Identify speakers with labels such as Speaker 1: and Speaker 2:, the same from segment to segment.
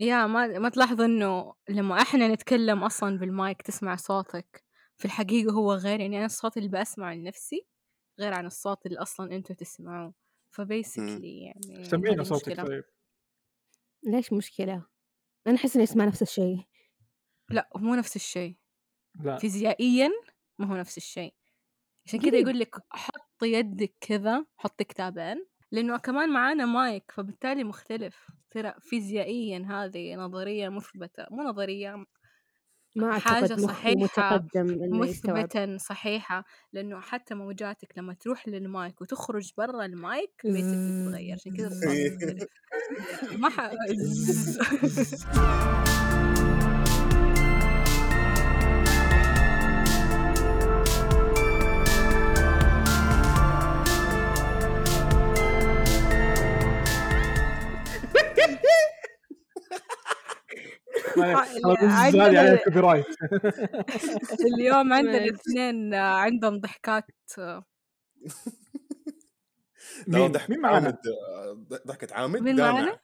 Speaker 1: يا ما ما تلاحظ إنه لمّا إحنا نتكلم أصلًا بالمايك تسمع صوتك، في الحقيقة هو غير، يعني أنا الصوت اللي باسمعه لنفسي غير عن الصوت اللي أصلًا أنتم تسمعوه،
Speaker 2: إمم.
Speaker 1: فبasically يعني
Speaker 2: سمّعينا
Speaker 1: هذي
Speaker 2: صوتِك
Speaker 1: مشكلة.
Speaker 2: طيب.
Speaker 3: ليش مشكلة؟ أنا أحس إني أسمع نفس الشيء.
Speaker 1: لأ، مو نفس الشيء،
Speaker 2: لأ.
Speaker 1: فيزيائيًا ما هو نفس الشيء، عشان كذا
Speaker 3: قريب.
Speaker 1: يقول لِك حطّي يدِك كذا، حطّي كتابين، لإنه كمان معانا مايك فبالتالي مختلف، ترى فيزيائيًا هذه نظرية مثبتة، مو نظرية
Speaker 3: ما
Speaker 1: حاجة
Speaker 3: أعتقد مخي
Speaker 1: صحيحة
Speaker 3: متقدم إنه يستوعب.
Speaker 1: مُثبتًا صحيحة، لإنه حتى موجاتك لمّا تروح للمايك وتخرج برّا المايك basically تتغير، عشان كذا الصوت يختلف، ما ح زز
Speaker 2: معليش، أنا بس زعلي عليها
Speaker 1: عندنا
Speaker 2: الcopy right.
Speaker 1: اليوم عندنا
Speaker 3: ماشي.
Speaker 1: 2 عندهم ضحكات
Speaker 4: لا هو
Speaker 2: مين؟
Speaker 4: ضحكة
Speaker 2: مين
Speaker 4: عامد
Speaker 2: معانا؟
Speaker 4: ض ضحكة عامد
Speaker 1: مين معانا؟
Speaker 4: دامع.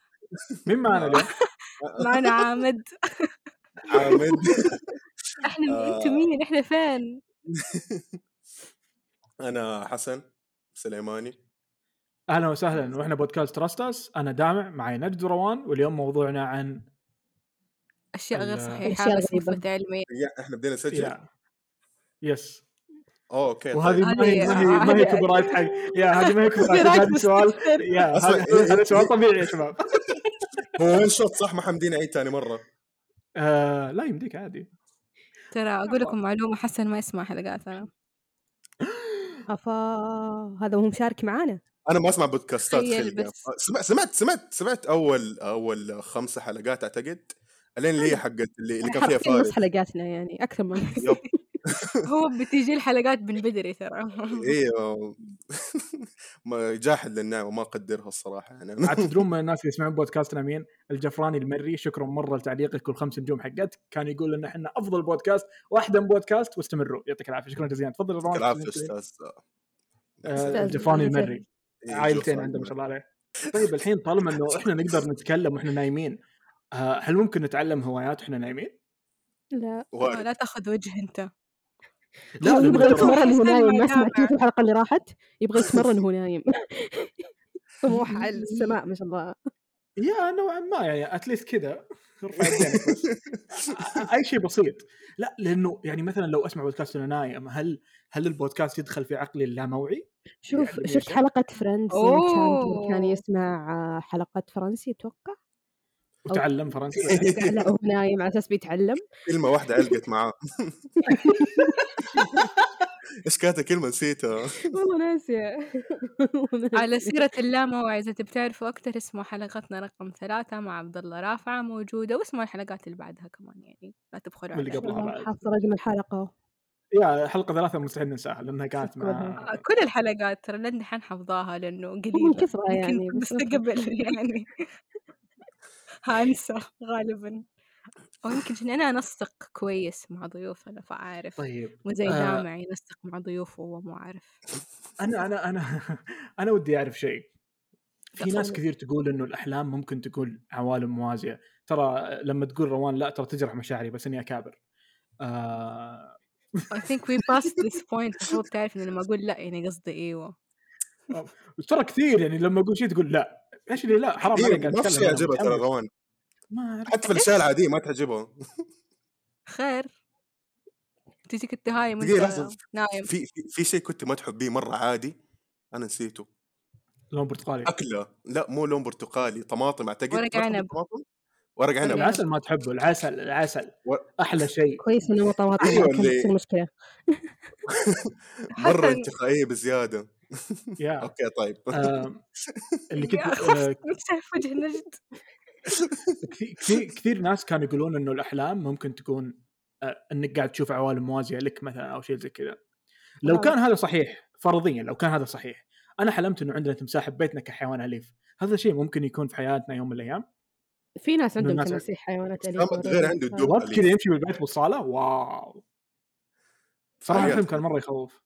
Speaker 2: مين معانا
Speaker 4: آه.
Speaker 2: اليوم؟
Speaker 1: معانا عامد
Speaker 4: عامد
Speaker 1: إحنا م أنتم
Speaker 4: آآ
Speaker 1: مين؟ إحنا فين؟
Speaker 4: أنا حسن سليماني.
Speaker 2: أهلًا وسهلًا، وإحنا بودكاست Trust Us، أنا دامع، معي نجد وروان، واليوم موضوعنا عن
Speaker 1: أشياء غير
Speaker 2: ال
Speaker 1: صحيحة
Speaker 3: الأشياء
Speaker 1: بس
Speaker 3: الغريبة.
Speaker 1: مثبتة علميًا.
Speaker 4: يا إحنا بدينا نسجل؟
Speaker 2: يا يس.
Speaker 4: آه، أوكي
Speaker 2: وهذه
Speaker 4: طيب.
Speaker 2: ما هي
Speaker 1: هذه
Speaker 2: ما هي ما
Speaker 1: هذه
Speaker 2: هي copy right حق يا هذه ما هي copy
Speaker 1: copy
Speaker 2: right
Speaker 1: right
Speaker 2: طيب، هذا سؤال
Speaker 1: مستمر.
Speaker 2: يا
Speaker 4: أصلًا
Speaker 2: هذا
Speaker 4: هي
Speaker 2: هذا سؤال
Speaker 4: هي
Speaker 2: طبيعي يا شباب.
Speaker 4: هو one shot صح ما حمدينا أي تاني مرة؟
Speaker 2: آآ، آه، لا يمديك عادي.
Speaker 1: ترى أقول لكم معلومة حسن ما يسمع حلقاتنا.
Speaker 3: أفا! هذا وهو مشارك معانا.
Speaker 4: أنا ما أسمع بودكاستات
Speaker 1: تخيل
Speaker 4: خلقة،
Speaker 1: بس.
Speaker 4: سمع سمعت سمعت سمعت أول أول 5 حلقات أعتقد، الين
Speaker 1: أيوه.
Speaker 4: اللي هي
Speaker 3: طيب،
Speaker 4: حقة اللي اللي
Speaker 3: يعني
Speaker 4: كان فيها
Speaker 3: حرفيًا نص
Speaker 4: فارس.
Speaker 3: حلقاتنا يعني أكثر من نص.
Speaker 4: يب.
Speaker 1: هو بتيجي الحلقات من بدري ترى.
Speaker 4: أيوه ما جاحد للنعمة ما أقدرها الصراحة يعني أنا
Speaker 2: عاد تدرون من الناس اللي يسمعون بودكاستنا مين؟ الجفراني المري، شكرًا مرة لتعليقك وال5 نجوم حقتك، كان يقول إن إحنا أفضل بودكاست وأحدث بودكاست واستمروا، يعطيك العافية، شكرًا جزيلًا، تفضل يا
Speaker 4: يعطيك
Speaker 2: روان
Speaker 4: العافية
Speaker 2: تفضل أنت.
Speaker 4: أستاذ
Speaker 2: آآ،
Speaker 4: حسين.
Speaker 3: أستاذ
Speaker 2: الجفراني
Speaker 3: حسين.
Speaker 2: المري،
Speaker 4: إيه
Speaker 2: عائلتين
Speaker 4: جفراني
Speaker 2: عنده ما
Speaker 4: المري.
Speaker 2: شاء الله عليه. طيب الحين طالما إنه إحنا نقدر نتكلم وإحنا نايمين، آآ، هل ممكن نتعلم هوايات وإحنا نايمين؟
Speaker 3: لا.
Speaker 1: آه،
Speaker 4: وارد.
Speaker 1: لا تاخذ وجه أنت.
Speaker 2: لا،
Speaker 3: هو
Speaker 2: نبغى
Speaker 3: يبغى
Speaker 1: هو
Speaker 2: ترى
Speaker 3: يتمرن وهو
Speaker 1: حسن
Speaker 3: نايم،
Speaker 1: مع
Speaker 3: ما
Speaker 1: دامع.
Speaker 3: سمعتوا الحلقة اللي راحت؟ يبغى يتمرن وهو نايم. طموح على السماء ما شاء الله.
Speaker 2: يا نوعًا ما يعني at least كذا، ارفع يدينك بس. أ أ أي شيء بسيط، لأ لأنه يعني مثلًا لو أسمع بودكاست وأنا نايم، هل هل البودكاست يدخل في عقلي اللاموعي؟
Speaker 3: شوف،
Speaker 2: يعلمني
Speaker 3: شفت
Speaker 2: أشياء؟
Speaker 3: حلقة فريندز يوم چاندلر كان
Speaker 1: أوه!
Speaker 3: يسمع حلقات فرنسي أتوقع؟ أو
Speaker 2: وتعلم فرنسي بعدين؟
Speaker 3: لا وهو نايم على أساس بيتعلم.
Speaker 4: كلمة واحدة علقت معاه. إيش كانت الكلمة نسيتها.
Speaker 3: والله ناسية والله
Speaker 1: على
Speaker 3: ناسية.
Speaker 1: سيرة اللاموعي إذا تبي تعرفوا أكتر اسمعوا حلقتنا رقم 3 مع عبد الله رافعة موجودة، واسمعوا الحلقات اللي بعدها كمان يعني، لا تبخلوا
Speaker 2: واللي
Speaker 3: إن
Speaker 1: علينا.
Speaker 3: شاء
Speaker 2: قبلها
Speaker 3: الله
Speaker 2: بعد.
Speaker 3: حافظة رقم الحلقة.
Speaker 4: إيه.
Speaker 2: يا حلقة 3 مستحيل ننساها لأنها كانت مع
Speaker 3: أذكرها.
Speaker 1: آه، كل الحلقات ترى للدحين حافظاها لأنه
Speaker 3: مو من
Speaker 1: قليلة،
Speaker 3: كثرة
Speaker 1: يمكن
Speaker 3: يعني
Speaker 1: في
Speaker 3: بس نطلع.
Speaker 1: المستقبل يعني حانسى غالبًا، أو يمكن عشان أنا أنسق كويس مع ضيوفنا فأعرف،
Speaker 2: طيب،
Speaker 1: مو زي
Speaker 2: آآ
Speaker 1: دامع ينسق مع ضيوفه وهو مو عارف.
Speaker 2: أنا أنا أنا أنا ودي أعرف شيء، في ناس
Speaker 1: تفضل.
Speaker 2: كثير تقول إنه الأحلام ممكن تكون عوالم موازية، ترى لما تقول روان لأ ترى تجرح مشاعري بس إني أكابر. آه، آآ
Speaker 1: I think we passed this point المفروض تعرف إني لما أقول لأ يعني قصدي أيوه.
Speaker 2: آه، ترى كثير يعني لما أقول شيء تقول لأ، إيش اللي لأ؟ حرام
Speaker 4: إيه
Speaker 2: عليك قاعد
Speaker 4: ما في
Speaker 2: أتكلم
Speaker 4: شيء
Speaker 2: أنا
Speaker 4: يعجبها ترى
Speaker 2: متحمس.
Speaker 4: روان.
Speaker 2: ما أعرف.
Speaker 4: حتى في الأشياء
Speaker 1: إيش؟
Speaker 4: العادية ما تعجبها.
Speaker 1: خير. تجيك التهايم وأنت
Speaker 4: دقيقة لحظة،
Speaker 2: أيوه.
Speaker 1: نايم.
Speaker 4: في في في شيء كنت ما تحبيه مرة عادي؟ أنا نسيته.
Speaker 2: لون برتقالي.
Speaker 4: أكلة، لأ مو لون برتقالي، طماطم أعتقد،
Speaker 1: ورق
Speaker 4: ما تحب
Speaker 1: عنب.
Speaker 4: الطماطم؟ ورق
Speaker 1: ورق
Speaker 4: عنب.
Speaker 1: عنب.
Speaker 2: العسل ما تحبه، العسل العسل
Speaker 4: و
Speaker 2: أحلى شيء.
Speaker 3: كويس إنه مو طماطم
Speaker 4: أيوه
Speaker 3: لأ كانت تصير
Speaker 4: اللي
Speaker 3: مشكلة.
Speaker 4: مرة
Speaker 1: حسن.
Speaker 4: انتقائية بزيادة.
Speaker 2: يا
Speaker 4: أوكي طيب.
Speaker 2: آه. آآ، اللي كنت آه،
Speaker 1: يا
Speaker 2: آآ
Speaker 1: خفت من شايف وجه نجد.
Speaker 2: كثي كثير كثير ناس كانوا يقولون إنه الأحلام ممكن تكون آآ، إنك قاعد تشوف عوالم موازية لك مثلًا أو شيء زي كذا. لو
Speaker 4: آه.
Speaker 3: واو!
Speaker 2: كان هذا صحيح، فرضيًا لو كان هذا صحيح، أنا حلمت إنه عندنا تمساح ببيتنا كحيوان أليف، هذا شيء ممكن يكون في حياتنا يوم من الأيام؟
Speaker 3: في ناس
Speaker 2: إنه
Speaker 3: عندهم
Speaker 2: الناس
Speaker 3: تماسيح حيوانات
Speaker 4: بس
Speaker 3: أليفة
Speaker 4: محمد غير
Speaker 3: already
Speaker 4: عنده
Speaker 3: ف
Speaker 4: الدب
Speaker 2: وات كذا
Speaker 4: أليف.
Speaker 2: يمشي بالبيت بالصالة، واو! صراحة
Speaker 4: فعاليات
Speaker 2: الفيلم كان
Speaker 4: كانت.
Speaker 2: مرة يخوف.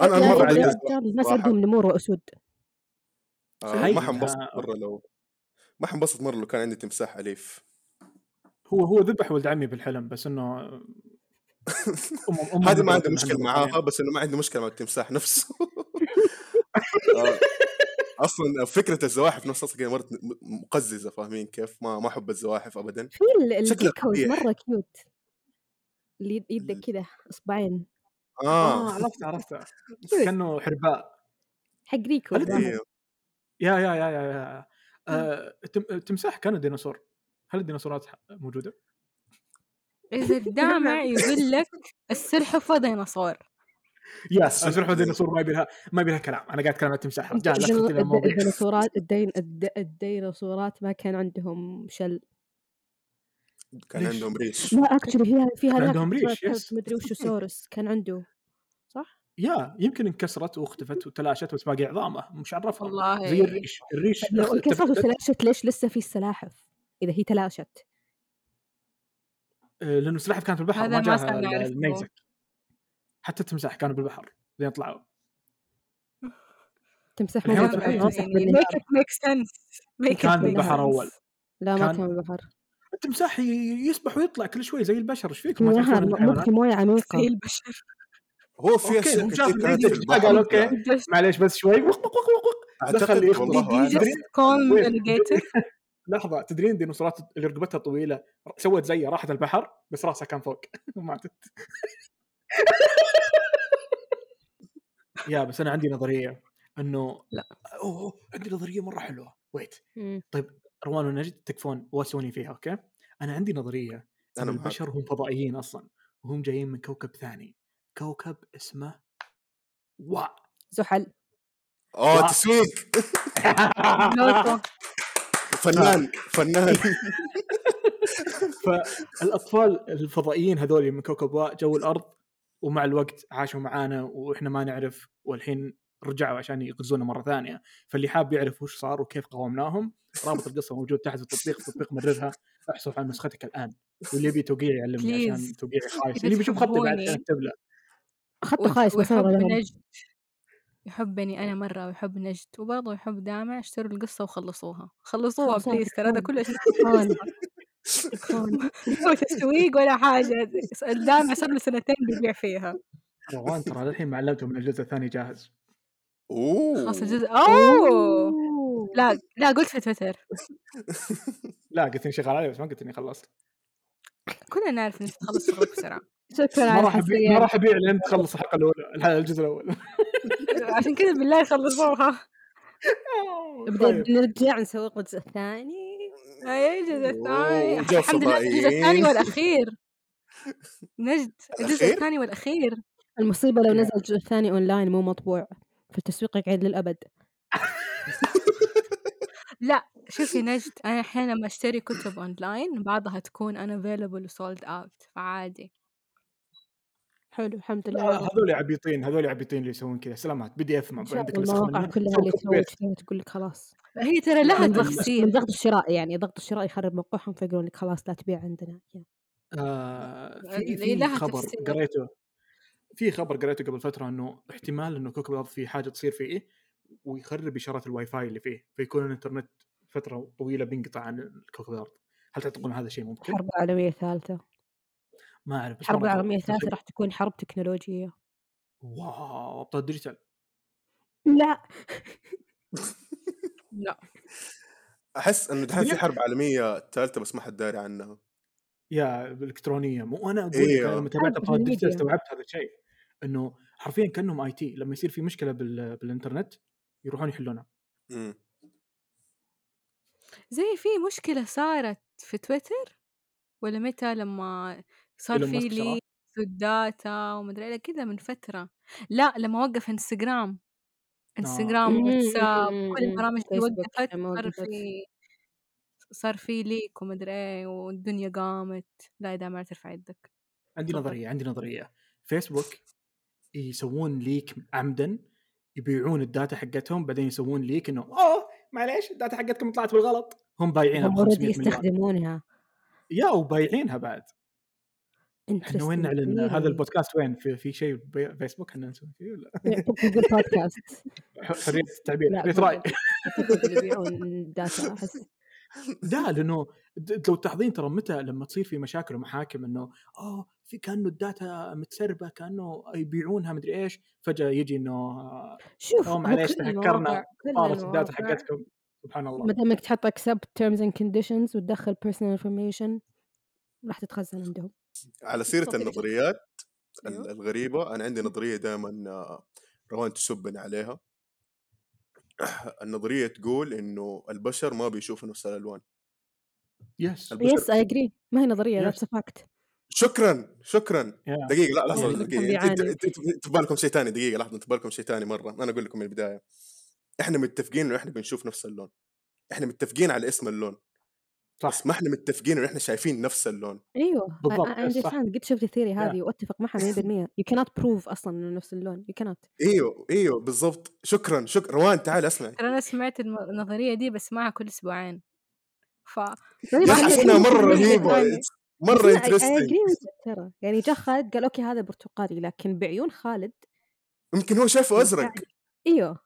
Speaker 4: أنا أنا
Speaker 3: آه، لا
Speaker 4: مرة
Speaker 3: لا
Speaker 4: عجبني
Speaker 2: فعاليات.
Speaker 3: ترى الناس
Speaker 4: صراحة.
Speaker 3: عندهم نمور وأسود.
Speaker 4: آه،
Speaker 2: هي
Speaker 4: ما حانبسط
Speaker 2: ها آه،
Speaker 4: مرة لو ما حانبسط مرة لو كان عندي تمساح أليف.
Speaker 2: هو هو ذبح ولد عمي بالحلم بس انه أمه- أمه
Speaker 4: هذه ما
Speaker 2: ذبحت
Speaker 4: عندي مشكله
Speaker 2: الحلم.
Speaker 4: معاها بس انه ما عندي مشكله مع التمساح نفسه آه، اصلا فكره الزواحف نفسها اصلا مرت مقززه فاهمين كيف؟ ما ما احب الزواحف ابدا
Speaker 3: في ال-
Speaker 4: شكله
Speaker 3: الجيكوز
Speaker 4: قبيح.
Speaker 3: مره كيوت اللي يد- يدك كذا اصبعين
Speaker 2: اه
Speaker 4: اه
Speaker 2: عرفت عرفت كانه حرباء
Speaker 3: حق ريكو
Speaker 2: هل
Speaker 3: ظاهر.
Speaker 4: إيه.
Speaker 2: يا يا يا يا, يا. آه، التم- التمساح كان ديناصور هل الديناصورات ح- موجوده؟
Speaker 1: إذا الدامع يقول لك السلحفة ديناصور
Speaker 2: يس اروح ديناصور ما يبي لها ما يبي لها كلام انا قاعد اتكلم عن التمساح رجال لا
Speaker 3: الدينو-
Speaker 2: تخلطي لي المواضيع
Speaker 3: الديناصورات الدين الد- الديناصورات ما كان عندهم شل
Speaker 4: كان
Speaker 2: ليش؟
Speaker 4: عندهم ريش
Speaker 3: لا اكشلي هي فيها
Speaker 2: كان
Speaker 3: هذاك
Speaker 2: عندهم ريش،
Speaker 3: الديناصور
Speaker 2: يس.
Speaker 3: مدري وشو سورس كان عنده صح؟
Speaker 2: يا يمكن انكسرت واختفت وتلاشت بس باقي عظامه مش عرفها
Speaker 1: والله
Speaker 2: زي الريش الريش
Speaker 3: طيب لو انكسرت
Speaker 2: تفتت،
Speaker 3: وتلاشت ليش لسه في السلاحف؟ اذا هي تلاشت
Speaker 2: آه، لانه السلاحف كانت بالبحر
Speaker 1: هذا
Speaker 2: ما
Speaker 1: ما
Speaker 2: جاها
Speaker 1: صار نعرفه.
Speaker 2: النيزك حتى التمساح كانوا بالبحر لين طلعوا
Speaker 3: تمسح
Speaker 2: الحيوانات
Speaker 3: موجودة
Speaker 2: البحرية.
Speaker 3: بالناصح بالنهار.
Speaker 1: ميك ات ميك سنس ميك
Speaker 2: كان بالبحر أول.
Speaker 3: لا ما
Speaker 2: كان-
Speaker 3: كان بالبحر
Speaker 2: التمساح ي- يسبح ويطلع كل شوي زي البشر ايش فيكم ما
Speaker 3: نهار،
Speaker 2: تعرفون
Speaker 3: ممكن
Speaker 2: الحيوانات
Speaker 3: مويه عميقه
Speaker 1: زي البشر
Speaker 4: هو في
Speaker 2: أوكي،
Speaker 4: اشياء
Speaker 2: هو شاف
Speaker 4: كثير كانت
Speaker 2: الريش
Speaker 4: في البحر.
Speaker 2: قال أوكي.
Speaker 1: Did
Speaker 2: معليش بس شوي وق وق وق وق
Speaker 4: اعتقد
Speaker 2: دخل يخبط.
Speaker 4: والله
Speaker 1: you
Speaker 4: اعلم
Speaker 1: just call me
Speaker 2: وين؟
Speaker 1: alligator؟
Speaker 2: لحظه تدرين الديناصورات اللي رقبتها طويله سوت زي راحت البحر بس راسها كان فوق ماتت يا بس انا عندي نظريه انه
Speaker 1: لا.
Speaker 2: أوه، أوه عندي نظريه مره حلوه ويت
Speaker 3: مم.
Speaker 2: روان ونجد تكفون واسوني فيها اوكي انا عندي نظريه
Speaker 4: انا
Speaker 2: أن
Speaker 4: معك
Speaker 2: البشر هم فضائيين اصلا وهم جايين من كوكب ثاني كوكب اسمه وا
Speaker 3: زحل
Speaker 2: آه.
Speaker 4: اه تسويق
Speaker 1: جوتو.
Speaker 4: فنان فنان
Speaker 2: فالاطفال الفضائيين هذول من كوكب وا جو الارض ومع الوقت عاشوا معانا واحنا ما نعرف والحين رجعوا عشان يغزونا مره ثانيه فاللي حاب يعرف وش صار وكيف قاومناهم رابط القصه موجود تحت في التطبيق التطبيق مررها احصل على نسختك الان واللي يبي توقيع يعلمني عشان
Speaker 1: Please.
Speaker 2: توقيعي خايس
Speaker 1: إذا
Speaker 2: اللي بيشوف خطي بعد
Speaker 1: تحبوني.
Speaker 2: اكتب له
Speaker 3: اخذت
Speaker 1: ويح-
Speaker 3: خايس بس انا
Speaker 1: ويحب
Speaker 3: غيرهم
Speaker 1: نجد يحبني انا مره ويحب نجد وبرضه يحب دامع اشتروا القصه وخلصوها خلصوها
Speaker 3: خلصوها،
Speaker 1: بليز ترى هذا
Speaker 3: تكفون.
Speaker 1: كله شيء
Speaker 3: تكفون. تكفون.
Speaker 1: مو تسويق ولا حاجه الدامع صار له سنتين بيبيع فيها
Speaker 2: روان ترى للحين ما علمته من الجزء الثاني جاهز
Speaker 4: اوه
Speaker 1: خلاص الجزء اوه
Speaker 3: أوه.
Speaker 1: لا لا قلت في تويتر
Speaker 2: لا قلت اني شغال عليه بس ما قلت اني خلصت
Speaker 1: كلنا نعرف انك تخلص شغلك بسرعه
Speaker 3: شكرا
Speaker 2: ما
Speaker 3: على
Speaker 2: راح ابيع ما
Speaker 3: الحساسية
Speaker 2: راح ابيع لين تخلص الحلقه الاولى الحلقة- الجزء الاول
Speaker 1: عشان كذا بالله خلصوها
Speaker 2: طيب.
Speaker 3: بدنا نرجع نسوي الجزء الثاني
Speaker 1: اي الجزء الثاني
Speaker 4: أوه، جو
Speaker 1: الحمد لله الجزء الثاني
Speaker 4: فضائيين.
Speaker 1: والاخير نجد الجزء
Speaker 4: الأخير؟
Speaker 1: الثاني والاخير
Speaker 3: المصيبة لو
Speaker 2: يا.
Speaker 3: نزل الجزء الثاني اونلاين مو مطبوع فالتسويق يقعد للابد
Speaker 1: لا شوفي نجد انا الحين لما اشتري كتب اونلاين بعضها تكون انا available وسولد اوت فعادي
Speaker 3: حلو الحمد لله يا
Speaker 2: آه،
Speaker 3: رب.
Speaker 2: هذول عبيطين هذول عبيطين اللي يسوون كذا سلامات بي دي اف ما
Speaker 3: إن شاء
Speaker 2: عندك
Speaker 3: الله المواقع
Speaker 2: مسخ
Speaker 3: كلها اللي
Speaker 2: منه.
Speaker 3: تسوق فيها تقول لك خلاص
Speaker 1: هي ترى لها
Speaker 3: من ضغط- من
Speaker 1: تفصيل
Speaker 3: ضغط الشراء يعني ضغط الشراء يخرب موقعهم فيقولون لك خلاص لا تبيع عندنا يا.
Speaker 2: آه، في
Speaker 1: اللي
Speaker 2: في
Speaker 1: لها
Speaker 2: خبر
Speaker 1: تفسير.
Speaker 2: قريته في خبر قريته قبل فتره انه احتمال انه كوكب الارض في حاجه تصير فيه إيه، ويخرب اشارات الواي فاي اللي فيه فيكون الانترنت فتره طويله بينقطع عن كوكب الارض هل تعتقدون هذا شيء ممكن؟
Speaker 3: الحرب العالمية الثالثة
Speaker 2: ما اعرف بس
Speaker 3: الحرب
Speaker 2: مرة
Speaker 3: العالمية
Speaker 2: أتوقع.
Speaker 3: الثالثة راح تكون حرب تكنولوجية
Speaker 2: واو ابطال ديجيتال
Speaker 3: لا
Speaker 1: لا
Speaker 4: احس انه دحين في حرب عالميه ثالثه بس ما حد داري عنها
Speaker 2: يا الالكترونيه مو انا اقول لك
Speaker 4: إيه.
Speaker 2: أنا لما تابعت
Speaker 3: حرب
Speaker 2: ابطال ديجيتال
Speaker 3: بالميديا.
Speaker 2: استوعبت هذا الشيء انه حرفيا كانهم اي تي لما يصير في مشكله بال... بالانترنت يروحون يحلونها
Speaker 4: أمم.
Speaker 1: زي في مشكله صارت في تويتر ولا متى لما صار
Speaker 2: إيلون
Speaker 1: طيب، في
Speaker 2: ماسك شراه.
Speaker 1: لي الداتا ومدري إيه كذا من فتره لا لما وقف انستغرام
Speaker 3: آه.
Speaker 1: انستغرام
Speaker 3: مم،
Speaker 1: واتساب
Speaker 3: مم،
Speaker 1: آه، كل
Speaker 3: مم.
Speaker 1: البرامج اللي
Speaker 3: فيسبوك
Speaker 1: وقفت
Speaker 3: لما
Speaker 1: صار
Speaker 3: وقفت.
Speaker 1: في صار في ليك ومدري ايه والدنيا قامت لا يا دامع ترفع يدك
Speaker 2: عندي
Speaker 1: تفضل.
Speaker 2: نظريه عندي نظريه فيسبوك يسوون ليك عمدا يبيعون الداتا حقتهم بعدين يسوون ليك انه اوه معليش الداتا حقتكم طلعت بالغلط هم بايعينها ب
Speaker 3: هم
Speaker 2: 500
Speaker 3: اوريدي
Speaker 2: مليون
Speaker 3: يستخدمونها
Speaker 2: يا وبايعينها بعد احنا وين
Speaker 3: Interesting.
Speaker 2: نعلن
Speaker 3: Really.
Speaker 2: هذا البودكاست وين في, في شيء بي- فيسبوك احنا نسوي فيه ولا
Speaker 3: جوجل بودكاست
Speaker 2: حريه التعبير
Speaker 3: لا،
Speaker 2: حريه راي
Speaker 3: جوجل. حتى جوجل يبيعون داتا احس
Speaker 2: لا لانه د- لو تلاحظين ترى متى لما تصير في مشاكل ومحاكم انه اوه في كانه الداتا متسربه كانه يبيعونها مدري ايش فجاه يجي انه آه،
Speaker 3: شوف
Speaker 2: أوه،
Speaker 3: هو
Speaker 2: معليش،
Speaker 3: كل
Speaker 2: تهكرنا،
Speaker 3: المواقع- كل
Speaker 2: طارت الداتا
Speaker 1: المواقع.
Speaker 2: حقتكم سبحان الله
Speaker 3: ما دام انك تحط accept terms and conditions وتدخل personal information راح تتخزن عندهم
Speaker 4: على سيره
Speaker 1: تفضلي.
Speaker 4: النظريات ال-
Speaker 1: أيوه.
Speaker 4: الغريبه انا عندي نظريه دائما روان تسبني عليها النظريه تقول انه البشر ما بيشوفوا نفس الالوان
Speaker 2: يس
Speaker 4: الب-
Speaker 3: يس اي اجري ما هي نظريه
Speaker 2: Yes.
Speaker 3: ذاتس فاكت
Speaker 4: شكرا شكرا
Speaker 2: يا.
Speaker 4: دقيقه لا لحظه
Speaker 3: يعني كان
Speaker 4: دقيقه انت
Speaker 3: بيعاني.
Speaker 4: انت انت- انت بالكم شيء ثاني دقيقه لحظه انت بالكم شيء ثاني مره انا اقول لكم من البدايه احنا متفقين انه احنا بنشوف نفس اللون احنا متفقين على اسم اللون
Speaker 2: صح.
Speaker 4: بس ما احنا متفقين انه احنا شايفين نفس اللون
Speaker 3: ايوه
Speaker 2: بالضبط،
Speaker 3: اي
Speaker 2: yes، صح.
Speaker 3: اندرستاند قد شفت الثيري هذه واتفق معها 100% يو كانت بروف اصلا انه نفس اللون يو كانت
Speaker 4: ايوه ايوه بالضبط شكرا شكرا روان تعال اسمعي
Speaker 1: ترى انا سمعت الم- النظريه دي بسمعها كل اسبوعين ف
Speaker 4: يا اخي
Speaker 1: خليها-
Speaker 4: اسمها مره
Speaker 1: خليها
Speaker 4: رهيبه
Speaker 1: ثانية.
Speaker 4: It's- مره انترستنج
Speaker 3: اجري ترى يعني جاء خالد قال اوكي هذا برتقالي لكن بعيون خالد
Speaker 4: يمكن هو شايفه ازرق
Speaker 3: ايوه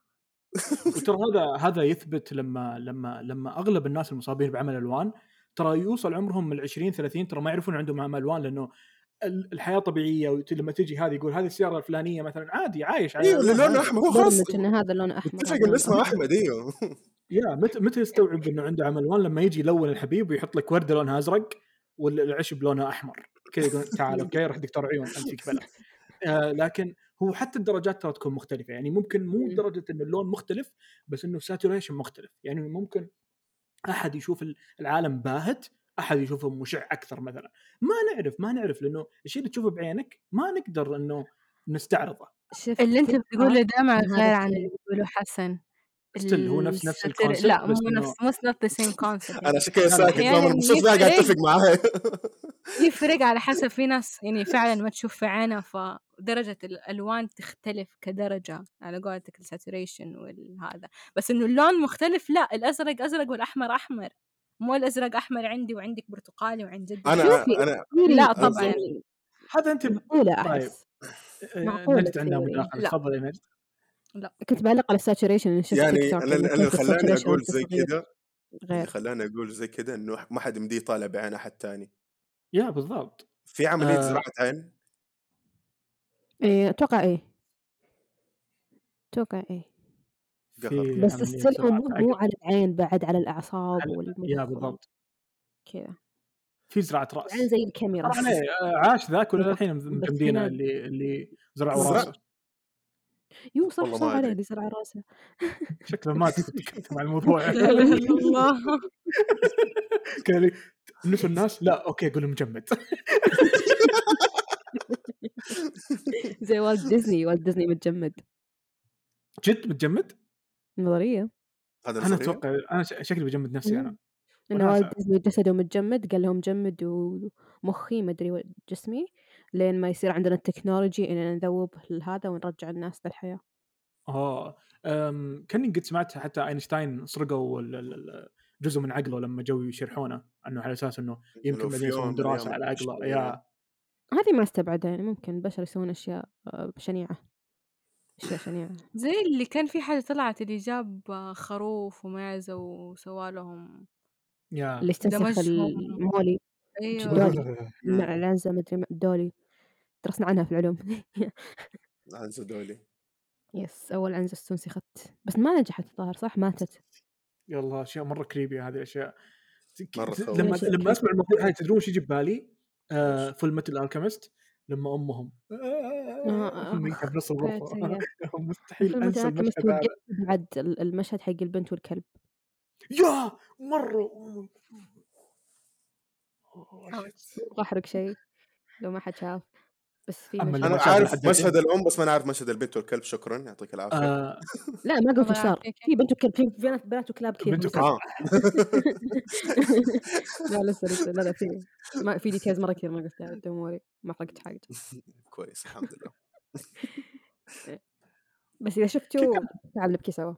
Speaker 2: وترى هذا هذا يثبت لما لما لما اغلب الناس المصابين بعمل الوان ترى يوصل عمرهم من 20 30 ترى ما يعرفون عندهم عمل الوان لانه ال- الحياه طبيعيه ولما تجي هذه يقول هذه السياره الفلانيه مثلا عادي عايش على
Speaker 4: ايوه
Speaker 2: ألوان
Speaker 4: لونه
Speaker 2: عادي.
Speaker 4: احمر هو خلاص
Speaker 3: برمج ان هذا اللون احمر
Speaker 4: متفق
Speaker 3: هذا
Speaker 4: انه
Speaker 3: لون
Speaker 4: اسمه
Speaker 3: أبيض.
Speaker 4: احمد ايوه
Speaker 2: يا متى متى يستوعب انه عنده عمل الوان لما يجي يلون الحبيب ويحط لك ورده لونها ازرق والعشب لونها احمر كذا يقول تعال اوكي روح دكتور عيون امسك بلا آه لكن هو حتى الدرجات ترى تكون مختلفه يعني ممكن مو
Speaker 3: مم.
Speaker 2: درجه ان اللون مختلف بس انه ساتوريشن مختلف يعني ممكن احد يشوف ال- العالم باهت احد يشوفه مشع اكثر مثلا ما نعرف ما نعرف لانه الشيء اللي تشوفه بعينك ما نقدر انه نستعرضه
Speaker 3: شفت
Speaker 1: اللي انت
Speaker 3: كيف
Speaker 1: بتقوله دائما
Speaker 3: هذا
Speaker 1: غير عن
Speaker 3: الشيء.
Speaker 1: اللي بيقوله حسن
Speaker 2: Still هو نفس- نفس
Speaker 1: الساتر-
Speaker 2: الconcept،
Speaker 1: لا مو
Speaker 2: بس إنه-
Speaker 1: نفس مو نوت ذا سيم كونسبت
Speaker 4: انا عشان كذا
Speaker 2: لا، لا،
Speaker 4: ساكت
Speaker 1: أحياناً
Speaker 4: ما من شوف لا قاعد
Speaker 1: يفرق.
Speaker 4: اتفق معاه
Speaker 1: يفرق على حسب في ناس يعني فعلا ما تشوف في عينها فدرجة الألوان تختلف كدرجة على قولتك الساتوريشن والهذا بس إنه اللون مختلف لا الأزرق أزرق والأحمر أحمر مو الأزرق أحمر عندي وعندك برتقالي وعند جدك
Speaker 4: انا
Speaker 3: شوفي.
Speaker 4: انا
Speaker 1: لا،
Speaker 3: يعني
Speaker 1: طبعاً.
Speaker 2: هذا انت آه،
Speaker 3: معقوله
Speaker 2: طيب.
Speaker 3: احس معقولة
Speaker 2: نجد عندها
Speaker 3: تصيري.
Speaker 2: مداخله
Speaker 1: لا.
Speaker 2: تفضل يا نجد
Speaker 3: كنت بعلق على الساتوريشن شفت
Speaker 4: يعني
Speaker 3: تيك توك
Speaker 4: انا
Speaker 3: إنه
Speaker 4: أنا
Speaker 3: كيف
Speaker 4: اللي خلاني
Speaker 3: الsaturation
Speaker 4: اقول
Speaker 3: وأنت
Speaker 4: زي
Speaker 3: صغير
Speaker 4: كذا اللي
Speaker 3: غير
Speaker 4: خلاني اقول زي كذا انه ما حد مديه يطالع بعين احد تاني
Speaker 2: يا بالضبط
Speaker 4: في عمليه
Speaker 2: آه.
Speaker 4: زراعه عين
Speaker 3: ايه اتوقع ايه اتوقع ايه
Speaker 2: في
Speaker 3: بس
Speaker 2: عملية
Speaker 3: السل
Speaker 2: زراعة
Speaker 3: مو مو على العين بعد على الاعصاب
Speaker 2: على-
Speaker 3: والمخ
Speaker 2: يا بالضبط
Speaker 3: كذا
Speaker 2: في زراعه راس
Speaker 3: العين زي الكاميرا
Speaker 2: حرام عليه آه، عاش ذاك ولا
Speaker 3: بالضبط.
Speaker 2: الحين
Speaker 3: بس
Speaker 2: مجمدينه
Speaker 3: هنا-
Speaker 2: اللي اللي زرعوا
Speaker 4: زرع-
Speaker 2: راسه
Speaker 3: يو صح
Speaker 4: والله ما
Speaker 3: صار
Speaker 4: أدري.
Speaker 3: عليه اللي زرع راسه
Speaker 2: شكله ما تكلم عن الموضوع يعني.
Speaker 1: لا إله إلا الله
Speaker 2: كذا اللي نسوا الناس لا اوكي قول مجمد
Speaker 3: زي والت ديزني والت ديزني متجمد
Speaker 2: جد متجمد؟
Speaker 3: نظريه
Speaker 4: هذا
Speaker 2: انا
Speaker 4: نظرية؟
Speaker 2: اتوقع انا ش- شكلي بجمد نفسي
Speaker 4: يعني
Speaker 2: انا
Speaker 3: انه
Speaker 2: وناسة.
Speaker 3: والت ديزني جسده متجمد قال لهم جمدوا مخي مدري و- جسمي لين ما يصير عندنا التكنولوجي اننا نذوب هذا ونرجع الناس للحياه
Speaker 2: اه أم، كاني قد سمعت حتى اينشتاين سرقوا ال- ال- ال- جزء من عقله لما جو يشرحونه انه على اساس انه يمكن
Speaker 4: لو في
Speaker 2: بعدين
Speaker 4: يوم
Speaker 2: يسوون
Speaker 4: من الأيام
Speaker 2: دراسه على
Speaker 4: اكتشفوا
Speaker 2: عقله يا
Speaker 3: هذه ما استبعدها يعني ممكن البشر يسوون اشياء آه، شنيعه اشياء شنيعه
Speaker 1: زي اللي كان في حاجة طلعت اللي جاب خروف ومعزة وسوالهم
Speaker 2: يا
Speaker 3: اللي استنسخ
Speaker 1: دمجهم.
Speaker 3: المولي
Speaker 1: أيوه
Speaker 3: جدار. مع العنزه مدري مع الدولي درسنا عنها في العلوم
Speaker 4: عنزة دولي
Speaker 3: يس اول عنزه استنسخت بس ما نجحت الظاهر صح ماتت
Speaker 2: يلا اشياء مره كريبي هذه الاشياء
Speaker 4: مرة تخوف.
Speaker 2: لما
Speaker 3: أشياء
Speaker 2: لما
Speaker 3: creepy.
Speaker 2: اسمع الموضوع هاي تدرون وش يجي ببالي؟ آه
Speaker 4: وش؟
Speaker 2: فول ميتال الكيمست لما امهم
Speaker 3: آه،
Speaker 2: امي كان بنص الغرفه
Speaker 3: فاتية.
Speaker 2: مستحيل
Speaker 3: فيلم
Speaker 2: انسى
Speaker 3: متعاكس
Speaker 2: المشهد
Speaker 3: توقف
Speaker 2: هذا
Speaker 3: بعد ال- المشهد حق البنت والكلب
Speaker 2: يا مره أوه، shit.
Speaker 3: ابغى احرق شيء لو ما حد شاف بس في
Speaker 2: أما
Speaker 3: مشهد
Speaker 4: انا
Speaker 2: لما شافوا
Speaker 4: عارف
Speaker 2: حددين.
Speaker 4: مشهد الام بس ما انا عارف مشهد البنت والكلب شكرا يعطيك العافيه
Speaker 2: آه،
Speaker 3: لا ما قلت
Speaker 1: الله
Speaker 3: صار
Speaker 1: يعافيك.
Speaker 3: في بنت وكلب في بنات بنات وكلاب كثير
Speaker 2: بنت
Speaker 3: في
Speaker 2: وكلب.
Speaker 3: المسلسل.
Speaker 4: اه
Speaker 3: لا لسه لسه لا لا في ما في ديتيلز مره كثير ما قلتها دونت وري ما حرقت حاجه
Speaker 4: كويس الحمد لله
Speaker 3: بس اذا شفتوا تعال نبكي سوا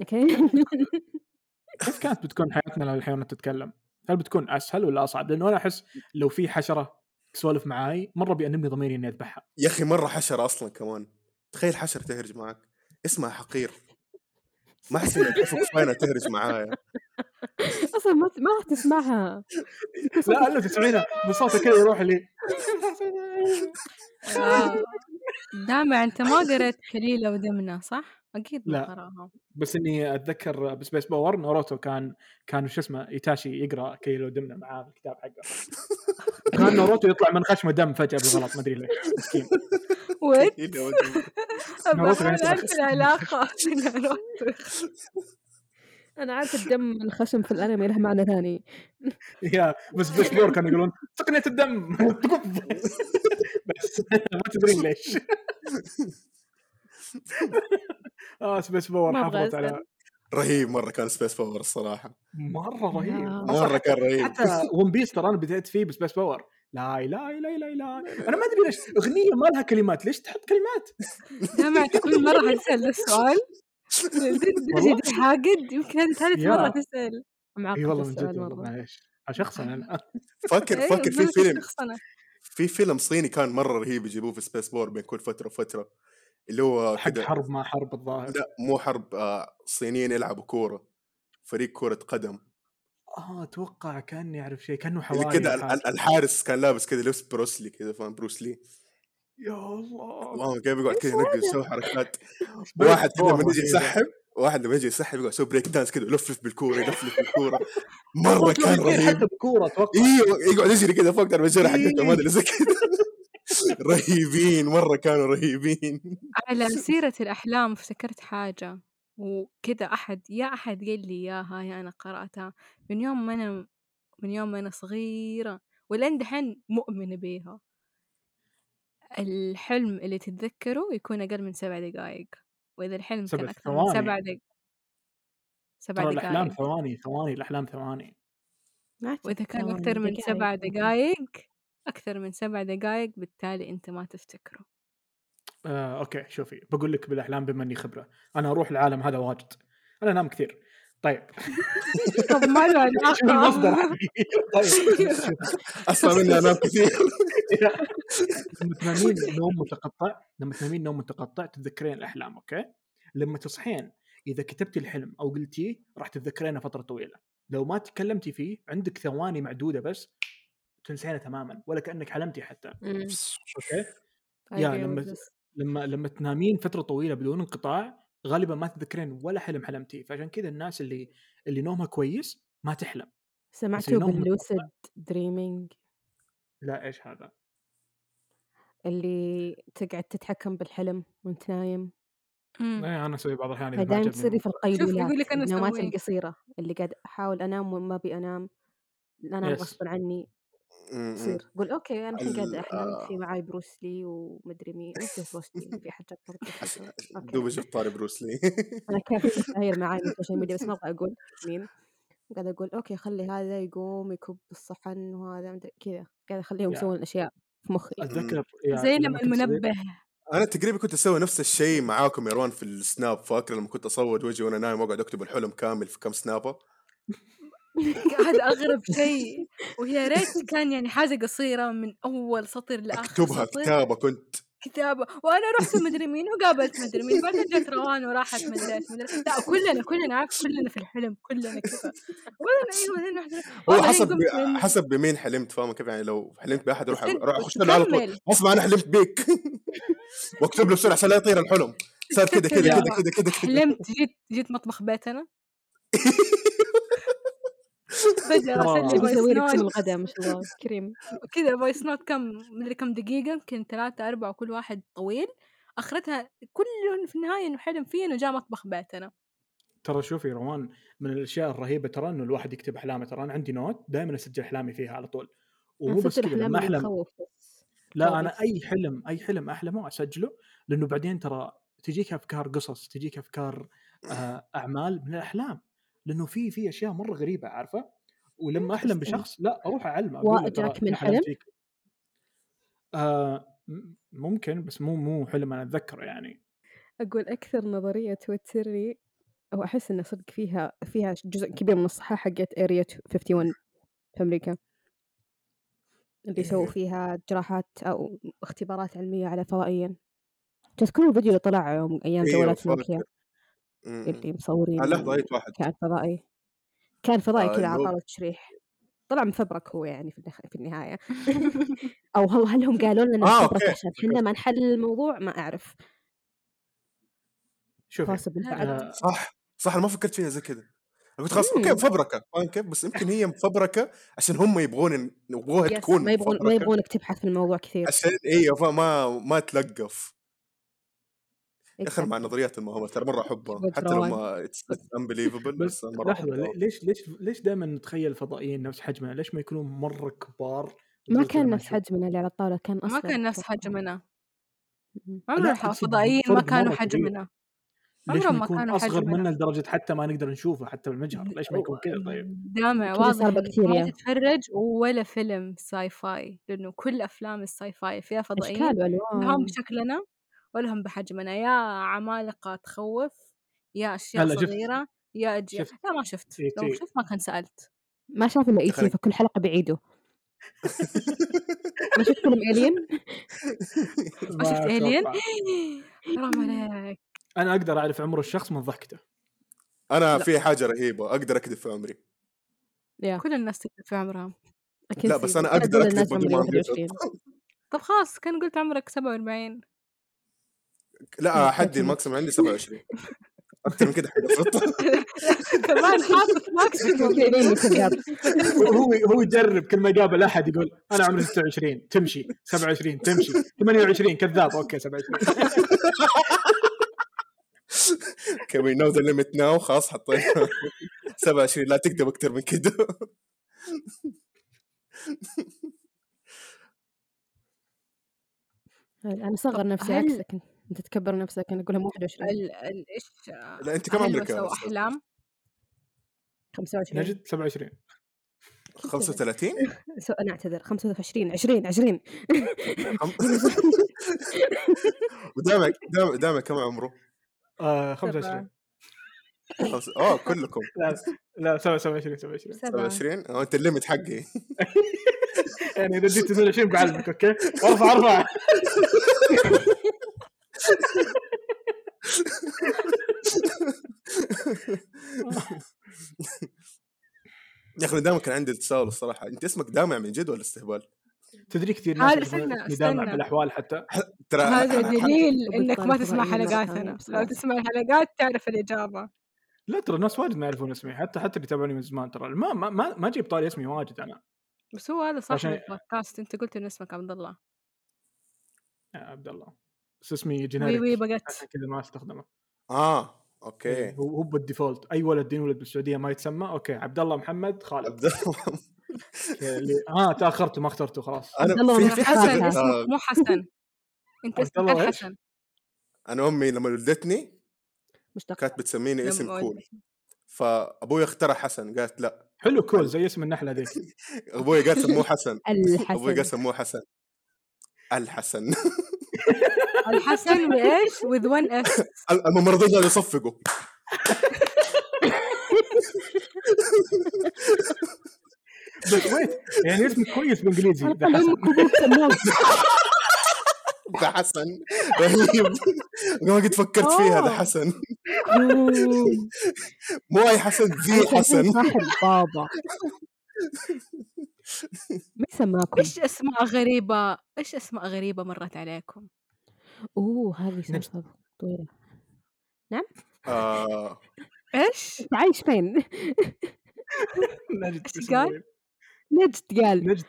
Speaker 3: اوكي
Speaker 2: كيف كانت بتكون حياتنا لو الحيوانات تتكلم؟ هل بتكون اسهل ولا اصعب؟ لانه انا احس لو في حشره تسولف معاي مره بيأنبني ضميري اني اذبحها.
Speaker 4: يا اخي مره حشره اصلا كمان تخيل حشر تهرج معك اسمها حقير ما احس انك تشوف كفايه إنها تهرج معايا
Speaker 3: اصلا ما ما راح تسمعها
Speaker 2: لا الا تسمعينها من صوته كذا يروح لي
Speaker 1: آه. دامع انت ما قريت كليلة ودمنة صح؟ اكيد ما
Speaker 2: لا.
Speaker 1: قراها
Speaker 2: بس اني اتذكر بسبيس باور ناروتو كان كان شو اسمه ايتاشي يقرا كيلو دمنه معاه في الكتاب حقه كان ناروتو يطلع من خشمه دم فجاه بالغلط ما ادري ليش مسكين
Speaker 1: وات
Speaker 4: إيه لو أنت-
Speaker 2: ناروتو
Speaker 1: بحاول
Speaker 2: يعني
Speaker 1: اعرف العلاقة ناروتو.
Speaker 3: انا عارفه الدم الخشم في الانمي له معنى ثاني
Speaker 2: يا بس بسبيس باور كانوا يقولون تقنيه الدم بس ما تدرين ليش اه سبيس باور
Speaker 3: ما أبغى
Speaker 2: حافظت على
Speaker 3: أسأل.
Speaker 4: رهيب مره كان سبيس باور الصراحه
Speaker 2: مره رهيب
Speaker 3: آه.
Speaker 2: أصلاً
Speaker 4: مره كان رهيب
Speaker 2: حتى ون بيس ترى انا بديت فيه بس بس باور لا لا لا لا لا انا ما ادري ليش اغنيه ما لها كلمات ليش تحط كلمات
Speaker 1: دامع كل مرة حتسأل السؤال
Speaker 2: والله.
Speaker 1: لدرجة دي حاقد يمكن هذه ثالث
Speaker 2: يا.
Speaker 1: مرة تسأل
Speaker 3: معقد
Speaker 2: اي والله من جد
Speaker 3: السؤال
Speaker 2: والله
Speaker 3: مره
Speaker 2: معليش شخصا انا
Speaker 4: فكر
Speaker 1: إيه،
Speaker 4: فكر في
Speaker 1: بقولك
Speaker 4: فيلم
Speaker 1: شخصنة.
Speaker 4: في فيلم صيني كان مره رهيب يجيبوه في سبيس باور بين كل فتره وفتره اللي هو
Speaker 2: حق
Speaker 4: كده-
Speaker 2: حرب ما حرب الظاهر
Speaker 4: لا مو حرب آه، صينيين يلعبوا كوره فريق كره قدم
Speaker 2: اه اتوقع كاني اعرف شيء كانه
Speaker 4: اللي
Speaker 2: حواري
Speaker 4: كده
Speaker 2: أو
Speaker 4: ال-
Speaker 2: حاجة.
Speaker 4: ال- الحارس كان لابس كده لبس بروسلي كده فاهم بروسلي
Speaker 2: يا الله
Speaker 4: واو كيف يقعد كده هناك يسوي حركات
Speaker 2: بس
Speaker 4: واحد كده
Speaker 2: باور
Speaker 4: لما يجي
Speaker 2: رهيبة.
Speaker 4: يسحب واحد لما يجي يسحب يقعد يسوي بريك دانس كده يلفلف بالكوره يلفلف بالكوره مره
Speaker 2: أول شيء
Speaker 4: كان
Speaker 2: يصير
Speaker 4: رهيب
Speaker 2: حتى بكوره اتوقع
Speaker 4: ايوه يقعد يجري كده فوق المجره حقته ما ادري زي كده رهيبين مره كانوا رهيبين
Speaker 1: على سيرة الأحلام افتكرت حاجة وكذا أحد يا أحد قال لي إياها يا أنا قرأتها من يوم ما أنا من يوم ما أنا صغيرة ولين دحين مؤمنة بيها الحلم اللي تتذكره يكون أقل من سبع دقايق وإذا الحلم كان
Speaker 2: سبع
Speaker 1: أكثر من سبع
Speaker 2: ثواني.
Speaker 1: دقايق سبع
Speaker 2: ترى الاحلام
Speaker 1: دقايق
Speaker 2: ثواني ثواني الاحلام ثواني
Speaker 3: ما أعتقد
Speaker 1: وإذا كان
Speaker 3: ثواني،
Speaker 1: أكثر من
Speaker 3: دقايق
Speaker 1: سبع
Speaker 3: يمكن.
Speaker 1: دقايق أكثر من سبع دقايق بالتالي أنت ما تفتكره
Speaker 2: آه، اوكي شوفي بقول لك بالاحلام بما اني خبره انا اروح العالم هذا واجد انا انام كثير طيب
Speaker 1: طب ما له
Speaker 2: شوف المصدر
Speaker 1: علاقة
Speaker 2: حقي طيب شوف
Speaker 4: اسمع مني انام كثير
Speaker 2: لما تنامين نوم متقطع لما تنامين نوم متقطع تتذكرين الاحلام اوكي لما تصحين اذا كتبتي الحلم او قلتيه راح تتذكرينه فتره طويله لو ما تكلمتي فيه عندك ثواني معدوده بس تنسينه تماما ولا كانك حلمتي حتى
Speaker 1: أمم،
Speaker 2: اوكي
Speaker 1: I
Speaker 2: يا
Speaker 1: agree with
Speaker 2: لما
Speaker 1: this.
Speaker 2: لما لما تنامين فتره طويله بدون انقطاع غالبا ما تتذكرين ولا حلم حلمتيه فعشان كذا الناس اللي اللي نومها كويس ما تحلم
Speaker 3: سمعتوا
Speaker 2: نوم
Speaker 3: باللوسيد دريمينج
Speaker 2: لا ايش هذا
Speaker 3: اللي تقعد تتحكم بالحلم وانت نايم
Speaker 1: أمم.
Speaker 2: إيه انا اسوي بعض الاحيان اذا
Speaker 3: هاي
Speaker 2: ما
Speaker 3: دايما
Speaker 2: عجبني النوم.
Speaker 3: تصير لي في
Speaker 1: شوف
Speaker 3: القيلولات
Speaker 1: يقول لك انا
Speaker 3: النومات
Speaker 1: اسويه
Speaker 3: القصيرة اللي قاعد أحاول أنام وما أبي أنام أنام
Speaker 2: يس.
Speaker 3: غصبا عني
Speaker 4: م- م.
Speaker 3: تصير قول أوكي أنا الحين قاعد
Speaker 4: إمم، ال-
Speaker 3: أحلم
Speaker 4: آه،
Speaker 3: في معاي بروسلي ومدري مين وش بروسلي في حاجة برضه بروسلي أوكي
Speaker 4: دوب جبت طاري بروسلي
Speaker 3: أنا كان في مشاهير معاي من السوشيال ميديا بس ما أبغى أقول مين قاعد أقول أوكي خلي هذا يقوم يكب الصحن وهذا مدري كذا قاعد أخليهم
Speaker 2: يا. آه.
Speaker 3: يسوون أشياء في مخي
Speaker 2: اتذكر يا
Speaker 1: زي لما
Speaker 2: يعني لما كنت صغير
Speaker 1: المنبه
Speaker 4: انا تقريبا كنت اسوي نفس الشيء معاكم يا روان في السناب فاكر لما كنت اصور وجهي وانا نايم واقعد اكتب الحلم كامل في كم سنابه
Speaker 1: هذا اغرب شيء ويا ريت كان يعني حاجه قصيره من اول سطر لاخر
Speaker 4: اكتبها
Speaker 1: سطر
Speaker 4: كتابه كنت
Speaker 1: كتابه وانا رحت مدري مين وقابلت مدري مين بعدين جت روان وراحت مدري ايش مدري لا كلنا كلنا عارف كلنا في الحلم كلنا كذا وبعدين ايوه بعدين رحت
Speaker 4: هو
Speaker 1: والله لين
Speaker 4: حسب
Speaker 1: قمت من
Speaker 4: حسب بمين حلمت فاهم كيف يعني لو حلمت باحد اروح
Speaker 1: وتكد-
Speaker 4: اروح اخش له على طول
Speaker 1: وتكمل
Speaker 4: اسمع انا حلمت بيك واكتب له بسرعه عشان لا يطير الحلم صار كذا
Speaker 1: تتذكر
Speaker 4: كذا كذا
Speaker 2: يا.
Speaker 1: لما
Speaker 4: كذا كذا كذا
Speaker 1: حلمت جيت جيت مطبخ بيتنا فجاه راسل لي
Speaker 2: ترى-
Speaker 3: شوف
Speaker 1: فويس
Speaker 3: يسوي لك
Speaker 1: نوت
Speaker 3: كل الغداء ما شاء الله كريم
Speaker 1: كذا فويس نوت كم مدري كم دقيقة يمكن ثلاثة أربعة وكل واحد طويل آخرتها كلهم في النهاية إنه حلم فيه إنه جاء مطبخ بيتنا
Speaker 2: ترى شوفي روان من الاشياء الرهيبه ترى انه الواحد يكتب احلامه ترى انا عندي نوت دائما اسجل احلامي فيها على طول
Speaker 3: أنا
Speaker 2: ومو بس
Speaker 3: أسجل
Speaker 2: كذا
Speaker 3: أحلام
Speaker 2: لما
Speaker 3: اللي
Speaker 2: احلم
Speaker 3: تخوف بس
Speaker 2: لا انا اي حلم اي حلم احلمه اسجله لانه بعدين ترى تجيك افكار قصص تجيك افكار آه، اعمال من الاحلام لانه في في اشياء مره غريبه عارفه ولما احلم
Speaker 3: انترستنج
Speaker 2: بشخص لا اروح اعلمه اقول له ترى
Speaker 3: وجاك من
Speaker 2: انا
Speaker 3: حلم
Speaker 2: حلمت فيك آه م- ممكن بس مو مو حلم انا اتذكره يعني
Speaker 3: أقول أكثر نظرية توترني أو أحس إن صدق فيها فيها جزء كبير من الصحة حقت أريا 51 في أمريكا اللي سووا
Speaker 4: إيه.
Speaker 3: فيها جراحات أو اختبارات علمية على فضائيين تذكرون الفيديو اللي طلع يوم أيام
Speaker 4: ايوه
Speaker 3: جوالات نوكيا
Speaker 4: فاكر مم.
Speaker 3: اللي مصورين
Speaker 4: آه، لحظه اي واحد
Speaker 3: كان فضائي كان فضائي
Speaker 4: آه،
Speaker 3: كذا
Speaker 4: اللي هو-
Speaker 3: عطاله تشريح طلع مفبرك هو يعني في, النهاية- في النهايه او هو هل هم قالوا لنا
Speaker 4: آه،
Speaker 3: مفبرك
Speaker 4: أوكي.
Speaker 3: عشان احنا ما نحل الموضوع ما اعرف
Speaker 2: شوف
Speaker 3: possible فعلا
Speaker 2: آه،
Speaker 4: صح صح انا ما فكرت فيها زي كذا أنا قلت خلاص
Speaker 3: مم.
Speaker 4: اوكي مفبركه فاهم كيف بس يمكن هي مفبركه عشان هم يبغون يبغوها
Speaker 3: يس،
Speaker 4: تكون
Speaker 3: ما يبغون ما
Speaker 4: مفبركة
Speaker 3: يبغونك تبحث في الموضوع كثير
Speaker 4: عشان ايوه فما ما تلقف يا اخي أنا مع
Speaker 3: Exactly.
Speaker 4: نظريات المؤامره ترى مره احبها
Speaker 3: شباب
Speaker 4: حتى لو
Speaker 3: روان.
Speaker 4: ما انبليفبل
Speaker 2: بس
Speaker 4: بس أنا مره
Speaker 2: لحظه
Speaker 4: احبها
Speaker 2: لي- ليش ليش ليش دائما نتخيل الفضائيين نفس حجمنا؟ ليش ما يكونون مره كبار؟
Speaker 3: ما
Speaker 2: لدرجة إن
Speaker 3: كان نفس
Speaker 2: نشوف؟
Speaker 3: حجمنا اللي على الطاوله كان اصلا
Speaker 1: ما كان نفس
Speaker 3: أتوقع.
Speaker 1: حجمنا
Speaker 3: مم.
Speaker 1: عمر
Speaker 2: لا، بس
Speaker 1: الفضائيين ما
Speaker 2: فرق
Speaker 1: كانوا
Speaker 2: مرة كبير.
Speaker 1: حجمنا
Speaker 2: ليش
Speaker 1: عمرهم
Speaker 2: ما
Speaker 1: ما
Speaker 2: يكون
Speaker 1: كانوا
Speaker 2: اصغر
Speaker 1: حجمنا
Speaker 2: منا لدرجه حتى ما نقدر نشوفه حتى بالمجهر؟ ليش ما يكون كذا طيب؟
Speaker 1: دامع
Speaker 3: كذا
Speaker 1: واضح
Speaker 3: صار
Speaker 1: انك ما
Speaker 2: يعني.
Speaker 3: بكتيريا.
Speaker 1: تتفرج ولا فيلم ساي فاي لانه كل افلام الساي فاي فيها فضائيين
Speaker 3: اشكال
Speaker 1: لا هم
Speaker 2: آه.
Speaker 3: والوان
Speaker 1: بشكلنا ولا هم بحجمنا يا عمالقه تخوف يا اشياء
Speaker 2: هلا شفت-
Speaker 1: صغيره يا اجيال
Speaker 2: شفت إيه،
Speaker 1: لا ما شفت
Speaker 2: إي
Speaker 1: لو
Speaker 2: تي.
Speaker 1: شفت ما كان سالت
Speaker 3: ما شاف الا ايتي
Speaker 4: خليك.
Speaker 3: فكل حلقه بعيده ما شفت فيلم الين
Speaker 1: ما شفت
Speaker 2: ما
Speaker 1: الين
Speaker 2: أتوقع.
Speaker 1: حرام عليك
Speaker 2: انا اقدر اعرف عمر الشخص من ضحكته
Speaker 1: لا.
Speaker 4: انا في حاجه رهيبه اقدر اكذب في عمري
Speaker 3: يا
Speaker 1: كل الناس تكذب في عمرها
Speaker 3: اكيد
Speaker 4: لا بس انا
Speaker 3: أنا أقول
Speaker 4: اقدر
Speaker 3: للناس
Speaker 4: اكذب من غير
Speaker 3: عمري
Speaker 4: ما أنبسط.
Speaker 3: 21
Speaker 1: طب خلاص كان قلت عمرك 47
Speaker 4: لا حدي الماكسيمم عندي 27 اكثر من كده حنبسط
Speaker 1: كمان حاطط ماكسيموم
Speaker 3: مستثمرين بالكذاب
Speaker 2: هو هو يجرب كل ما يقابل احد يقول انا عمري 26 تمشي 27 تمشي 28 كذاب اوكي 27
Speaker 4: اوكي وي نو ذا ليميت ناو خلاص حطينا 27 لا تكذب اكثر من كده
Speaker 3: انا اصغر
Speaker 1: طب
Speaker 3: نفسي
Speaker 1: هل-
Speaker 3: عكسك انت تكبر نفسك انا اقول لهم 21
Speaker 1: ال ال ايش
Speaker 4: لا انت كم
Speaker 1: هل لو
Speaker 4: عمرك يا
Speaker 1: سووا
Speaker 4: أستاذ؟
Speaker 1: احلام
Speaker 3: 25
Speaker 2: نجد 27
Speaker 4: 35
Speaker 3: سو انا اعتذر 25 20 20
Speaker 4: ودامك دامك دامك كم عمره؟
Speaker 2: آه 25
Speaker 4: خمسة- اه كلكم
Speaker 2: لا لا 27 27
Speaker 1: سبعة
Speaker 4: 27 اه انت الليمت حقي
Speaker 2: يعني اذا جيت 29 بعلمك اوكي ارفع ارفع
Speaker 4: يا اخي دائما كان عندي تساؤل الصراحه انت اسمك دامع من جد ولا استهبال؟
Speaker 2: تدري كثير ناس
Speaker 1: هذا
Speaker 2: يسمون
Speaker 1: استنى،
Speaker 2: اسمي دامع
Speaker 1: استنى.
Speaker 2: بالاحوال حتى
Speaker 4: ترى
Speaker 1: هذا
Speaker 4: أنا- أنا-
Speaker 1: دليل
Speaker 3: حتى
Speaker 1: انك ما
Speaker 3: بالطالب
Speaker 1: تسمع
Speaker 3: فضائيين مرة
Speaker 1: حلقاتنا
Speaker 3: ثانية
Speaker 1: لو
Speaker 3: بصراحة.
Speaker 1: تسمع الحلقات تعرف الاجابة
Speaker 2: لا ترى ناس واجد ما يعرفون اسمي حتى حتى اللي يتابعوني من زمان ترى ما ما ما, ما جيب طاري اسمي واجد انا
Speaker 1: بس هو هذا صاحب
Speaker 2: عشان-
Speaker 1: البودكاست انت قلت ان اسمك عبد الله
Speaker 2: يا عبد الله بس اسمي
Speaker 1: وي
Speaker 2: جينيريك
Speaker 1: وي بقت
Speaker 2: عشان كذا ما استخدمه
Speaker 4: اه
Speaker 2: إيه،
Speaker 4: اوكي
Speaker 2: هو هو بالديفولت اي ولد ينولد بالسعوديه ما يتسمى اوكي عبد الله محمد خالد
Speaker 4: عبد الله
Speaker 2: أوكي، اللي اه تاخرت وما اخترته خلاص
Speaker 3: عبد الله
Speaker 4: انا في
Speaker 3: وما
Speaker 4: في
Speaker 1: حسن
Speaker 4: حاجه
Speaker 3: أخلاقها.
Speaker 1: اسمك
Speaker 4: آه
Speaker 1: مو حسن انت
Speaker 2: عبد
Speaker 1: اسمك
Speaker 2: الله إيش؟
Speaker 1: الحسن
Speaker 4: انا امي لما ولدتني
Speaker 3: مشتقة
Speaker 4: كانت بتسميني اسم
Speaker 1: لما
Speaker 4: كول فابوي اخترع حسن قالت لا
Speaker 2: حلو كول زي اسم النحله ذيك
Speaker 4: ابوي قال سموه حسن ابوي قال
Speaker 3: الحسن
Speaker 4: سموه حسن الحسن
Speaker 1: الحسن وايش؟ وذ ون اس
Speaker 4: الممرضين قالوا يصفقوا
Speaker 2: بس ويت يعني اسمك كويس بالانجليزي ذا
Speaker 3: أرقى
Speaker 2: حسن
Speaker 3: لأمك وأبوك سموك
Speaker 4: ذا حسن رهيب ما قد فكرت فيها ذا
Speaker 1: أوه.
Speaker 4: حسن
Speaker 3: يوم.
Speaker 4: مو اي حسن ذي
Speaker 3: أنا الحين
Speaker 4: حسن
Speaker 3: صاحب بابا مين سماكم؟
Speaker 1: ايش اسماء غريبة ايش اسماء غريبة مرت عليكم؟
Speaker 3: أوه هذه
Speaker 2: نجد.
Speaker 3: صرصبة طويلة
Speaker 4: آه
Speaker 1: ايش؟
Speaker 3: أنت عايش فين؟
Speaker 2: نجد
Speaker 1: إيش
Speaker 2: اسمه
Speaker 1: قال؟
Speaker 2: وين؟
Speaker 3: نجد قال
Speaker 2: نجد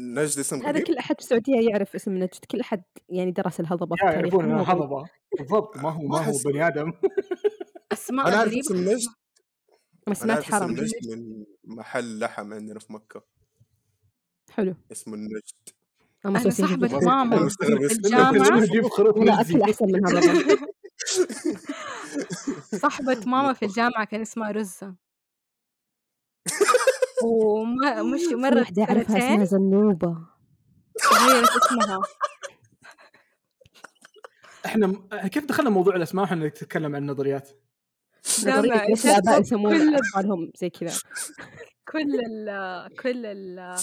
Speaker 4: نجد اسم
Speaker 3: هذا
Speaker 4: غريب
Speaker 3: كل أحد في السعودية يعرف اسم نجد كل أحد يعني درس الهضبة في
Speaker 2: يا
Speaker 3: التاريخ
Speaker 2: يعرفون انه
Speaker 3: مو غريب.
Speaker 2: هضبه بالضبط ما هو
Speaker 4: ما
Speaker 2: ما هو
Speaker 4: أحس-
Speaker 2: بني ادم
Speaker 1: اسماء
Speaker 4: انا عارف
Speaker 1: غريبة
Speaker 4: اسم نجد
Speaker 3: أنا
Speaker 4: انا
Speaker 3: سمعت
Speaker 4: عارف اسم
Speaker 3: حرام
Speaker 4: نجد من محل لحم عندنا في مكه
Speaker 3: حلو
Speaker 4: اسمه النجد
Speaker 3: أما
Speaker 1: انا
Speaker 3: صوصية
Speaker 1: صاحبة
Speaker 3: جداً.
Speaker 4: مرة
Speaker 1: ماما
Speaker 4: أنا مستغرب
Speaker 1: في
Speaker 4: اسمه
Speaker 1: الجامعة
Speaker 2: اسمه جيب خروف
Speaker 3: لا
Speaker 2: نجدي
Speaker 3: أكل أحسن من هذا
Speaker 1: صاحبة ماما في الجامعة كان اسمها رزة ومش
Speaker 3: في
Speaker 1: مرة
Speaker 3: واحدة أعرفها
Speaker 1: سنتين
Speaker 3: اسمها زنوبة
Speaker 1: غيرت اسمها
Speaker 2: احنا م- كيف دخلنا موضوع الاسماء واحنا نتكلم عن النظريات؟
Speaker 1: دامع
Speaker 3: نظرية ليش الآباء
Speaker 1: شكلك
Speaker 3: يسمون
Speaker 1: كل-
Speaker 3: أطفالهم زي كذا
Speaker 1: كل ال كل ال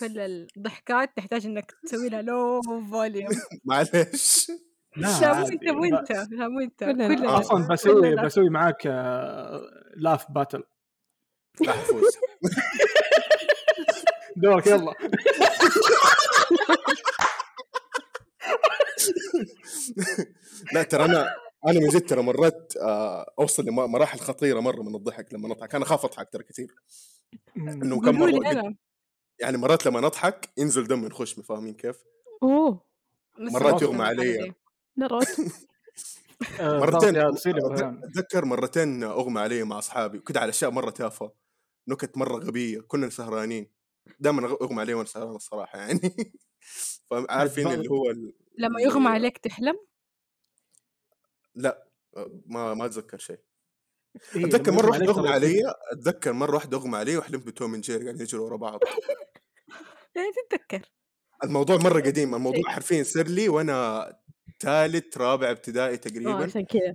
Speaker 1: كل الضحكات تحتاج انك تسوي لها لو فوليوم
Speaker 4: معلش
Speaker 1: لا مو
Speaker 2: عادي.
Speaker 1: انت مو انت لا مو انت
Speaker 3: كلنا.
Speaker 1: كلنا
Speaker 4: آه.
Speaker 2: اصلا بسوي بسوي معاك آه، لاف باتل
Speaker 4: راح افوز
Speaker 2: دورك يلا
Speaker 4: لا ترى انا انا من جد ترى مرات آه، اوصل لمراحل خطيره مره من الضحك لما اضحك انا اخاف اضحك ترى كثير انه كم
Speaker 1: قولوا
Speaker 4: مره
Speaker 1: لي
Speaker 4: قد-
Speaker 1: انا
Speaker 4: يعني مرات لما نضحك ينزل دم من خشمي فاهمين كيف؟
Speaker 3: اوه
Speaker 1: بس
Speaker 4: مرات
Speaker 1: خلاص
Speaker 4: يغمى
Speaker 1: أنا
Speaker 4: علي.
Speaker 1: عندي.
Speaker 3: نروت
Speaker 2: آه،
Speaker 4: مرتين.
Speaker 2: ضغط، يا تصير لي بالعيون.
Speaker 4: اتذكر مرتين اغمى علي مع اصحابي كده على اشياء مره تافهه نكت مره غبيه كنا سهرانين دائما اغمى علي وانا سهران الصراحه يعني فعارفين اللي هو ال-
Speaker 1: لما
Speaker 4: اللي-
Speaker 1: يغمى عليك تحلم
Speaker 4: لا ما ما اتذكر شيء
Speaker 2: إيه،
Speaker 4: اتذكر
Speaker 2: لما
Speaker 4: مره
Speaker 2: يغمى
Speaker 4: واحده اغمى
Speaker 2: عليك ترى
Speaker 4: علي اتذكر مره واحده اغمى علي وحلمت بتوم اند جيري قاعدين يجروا ورا بعض
Speaker 1: يعني تتذكر
Speaker 4: الموضوع مره قديم الموضوع حرفيا سر لي وانا ثالث رابع ابتدائي
Speaker 3: اه
Speaker 4: تقريبا
Speaker 3: عشان كذا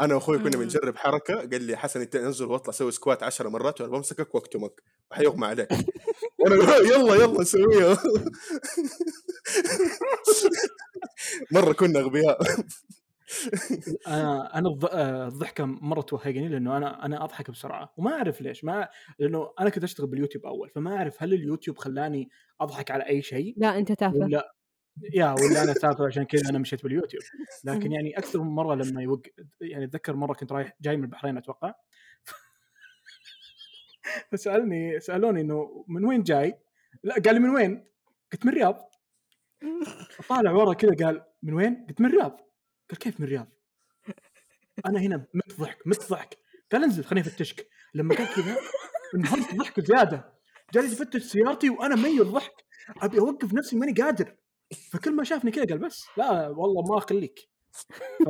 Speaker 4: انا واخوي كنا
Speaker 1: مم.
Speaker 4: بنجرب حركه قال لي حسن انت انزل واطلع سوي سكوات 10 مرات وانا بمسكك واكتمك وحيغمى عليك وانا أقول يلا يلا نسويها مره كنا اغبياء
Speaker 2: انا انا الض- آه، الضحكه مره توهقني لانه انا انا اضحك بسرعه وما اعرف ليش ما لانه انا كنت اشتغل باليوتيوب اول فما اعرف هل اليوتيوب خلاني اضحك على اي شيء
Speaker 3: لا انت تافه
Speaker 2: ولا يا ولا انا تافه عشان كذا انا مشيت باليوتيوب لكن
Speaker 3: مهم.
Speaker 2: يعني اكثر من مره لما يوق يعني اتذكر مره كنت رايح جاي من البحرين اتوقع فسالني سالوني انه من وين جاي؟ لا قال لي من وين؟ قلت من الرياض طالع ورا كذا قال من وين؟ قلت من الرياض قال كيف من الرياض؟ انا هنا مت ضحك مت ضحك قال انزل خليني افتشك لما قال كذا انهارت ضحك زياده جالس يفتش سيارتي وانا ميت ضحك ابي اوقف نفسي ماني قادر فكل ما شافني كذا قال بس لا والله ما اخليك ف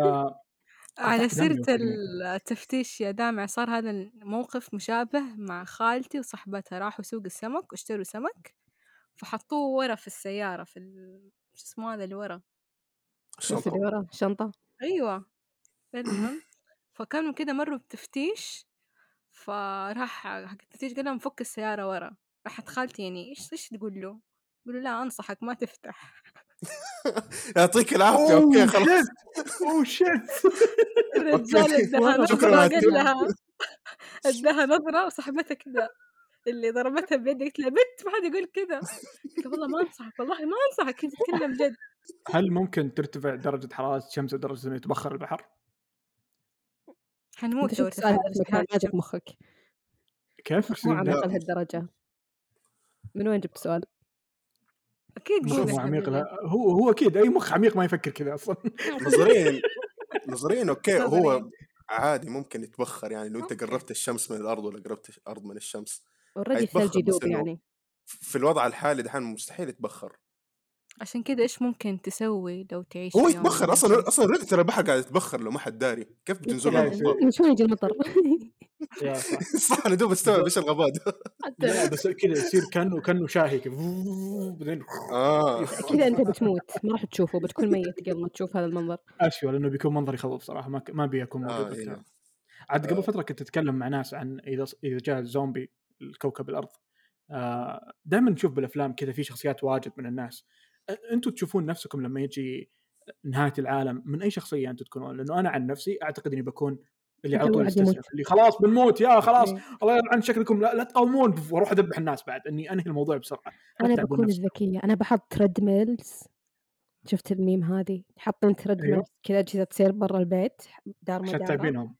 Speaker 1: على
Speaker 2: أضحك دمي
Speaker 1: سيرة
Speaker 2: وكذا.
Speaker 1: التفتيش يا دامع صار هذا الموقف مشابه مع خالتي وصاحبتها راحوا سوق السمك واشتروا سمك فحطوه ورا في السيارة في ال... شو اسمه هذا اللي ورا
Speaker 3: بس اللي وراه شنطه
Speaker 1: ايوه المهم فكانوا كده مروا بتفتيش فراح حق التفتيش قال لهم فك السيارة ورا راحت خالتي يعني ايش ايش تقول له؟ قولوا لا انصحك ما تفتح
Speaker 4: يعطيك العافيه اوكي خلاص
Speaker 2: اوه شيت
Speaker 1: الرجال اداها
Speaker 4: شكراً
Speaker 1: نظرة
Speaker 4: على
Speaker 1: قال لها اداها نظرة وصاحبتها كده اللي ضربتها بيد قلت لها بنت ما حد يقول كده قلت لها والله ما انصحك والله ما انصحك كنت تتكلم جد
Speaker 2: هل ممكن ترتفع درجه حراره الشمس لدرجه انه يتبخر البحر؟
Speaker 1: حنموت
Speaker 3: انت
Speaker 1: لو
Speaker 3: شو
Speaker 1: ارتفعت
Speaker 3: تسال
Speaker 1: درجة حرارة
Speaker 3: مكانات
Speaker 1: الشمس.
Speaker 3: مخك
Speaker 2: كيف؟
Speaker 3: مو
Speaker 2: أقسم بالله.
Speaker 3: عميق لهالدرجه من وين جبت سؤال؟
Speaker 1: اكيد
Speaker 2: مخ
Speaker 1: قول
Speaker 2: مو
Speaker 1: يا
Speaker 2: عميق لا
Speaker 1: حبيبي
Speaker 2: هو هو اكيد اي مخ عميق ما يفكر كذا اصلا
Speaker 4: نظريا نظريا اوكي
Speaker 1: نظرياً.
Speaker 4: هو عادي ممكن يتبخر يعني لو انت
Speaker 1: أوكي.
Speaker 4: قربت الشمس من الارض ولا قربت الارض من الشمس
Speaker 3: اوريدي
Speaker 4: حيتبخر
Speaker 3: الثلج
Speaker 4: بس
Speaker 3: يذوب
Speaker 4: إنه-
Speaker 3: يعني
Speaker 4: في الوضع الحالي دحين مستحيل يتبخر
Speaker 1: عشان كذا ايش ممكن تسوي لو تعيش
Speaker 4: هو
Speaker 1: في يوم
Speaker 4: يتبخر
Speaker 1: من
Speaker 4: اصلا
Speaker 1: الأيام؟
Speaker 4: اصلا ريت ترى البحر قاعد يتبخر لو ما حد داري كيف بتنزل له
Speaker 2: فعلاً.
Speaker 4: الامطار
Speaker 3: من شلون يجي المطر؟
Speaker 2: يا صح
Speaker 4: صح انا دوب استوعب ايش الغباء ده
Speaker 2: لا بس كذا يصير كانه كانه شاهي كذا بعدين
Speaker 4: اه
Speaker 3: كذا انت بتموت ما راح تشوفه بتكون ميت قبل ما تشوف هذا المنظر
Speaker 2: اشوى لانه بيكون منظر يخوف صراحه ما ك- ما ابي اكون موجود
Speaker 4: آه،
Speaker 2: وقتها
Speaker 4: إيه.
Speaker 2: عاد
Speaker 4: آه.
Speaker 2: قبل فتره كنت اتكلم مع ناس عن اذا اذا جاء الزومبي لكوكب الارض دائما نشوف بالافلام كذا في شخصيات واجد من الناس أ- انتم تشوفون نفسكم لما يجي نهايه العالم من اي شخصيه انتم تكونون لانه انا عن نفسي اعتقد اني بكون اللي على
Speaker 3: أول
Speaker 2: طول
Speaker 3: واحد
Speaker 2: استسلم
Speaker 3: يموت.
Speaker 2: اللي خلاص بنموت يا خلاص
Speaker 3: إيه.
Speaker 2: الله يلعن شكلكم لا, لا تقاومون بف- واروح اذبح الناس بعد اني انهي الموضوع بسرعه لا
Speaker 3: انا
Speaker 2: تتعبون
Speaker 3: بكون
Speaker 2: نفسكم
Speaker 3: الذكيه انا بحط تريدميلز شفت الميم هذه حاطين
Speaker 2: ايوه
Speaker 3: تريدميلز كذا اجهزه تصير برا البيت دار ما
Speaker 2: عشان
Speaker 3: دار
Speaker 2: تعبينهم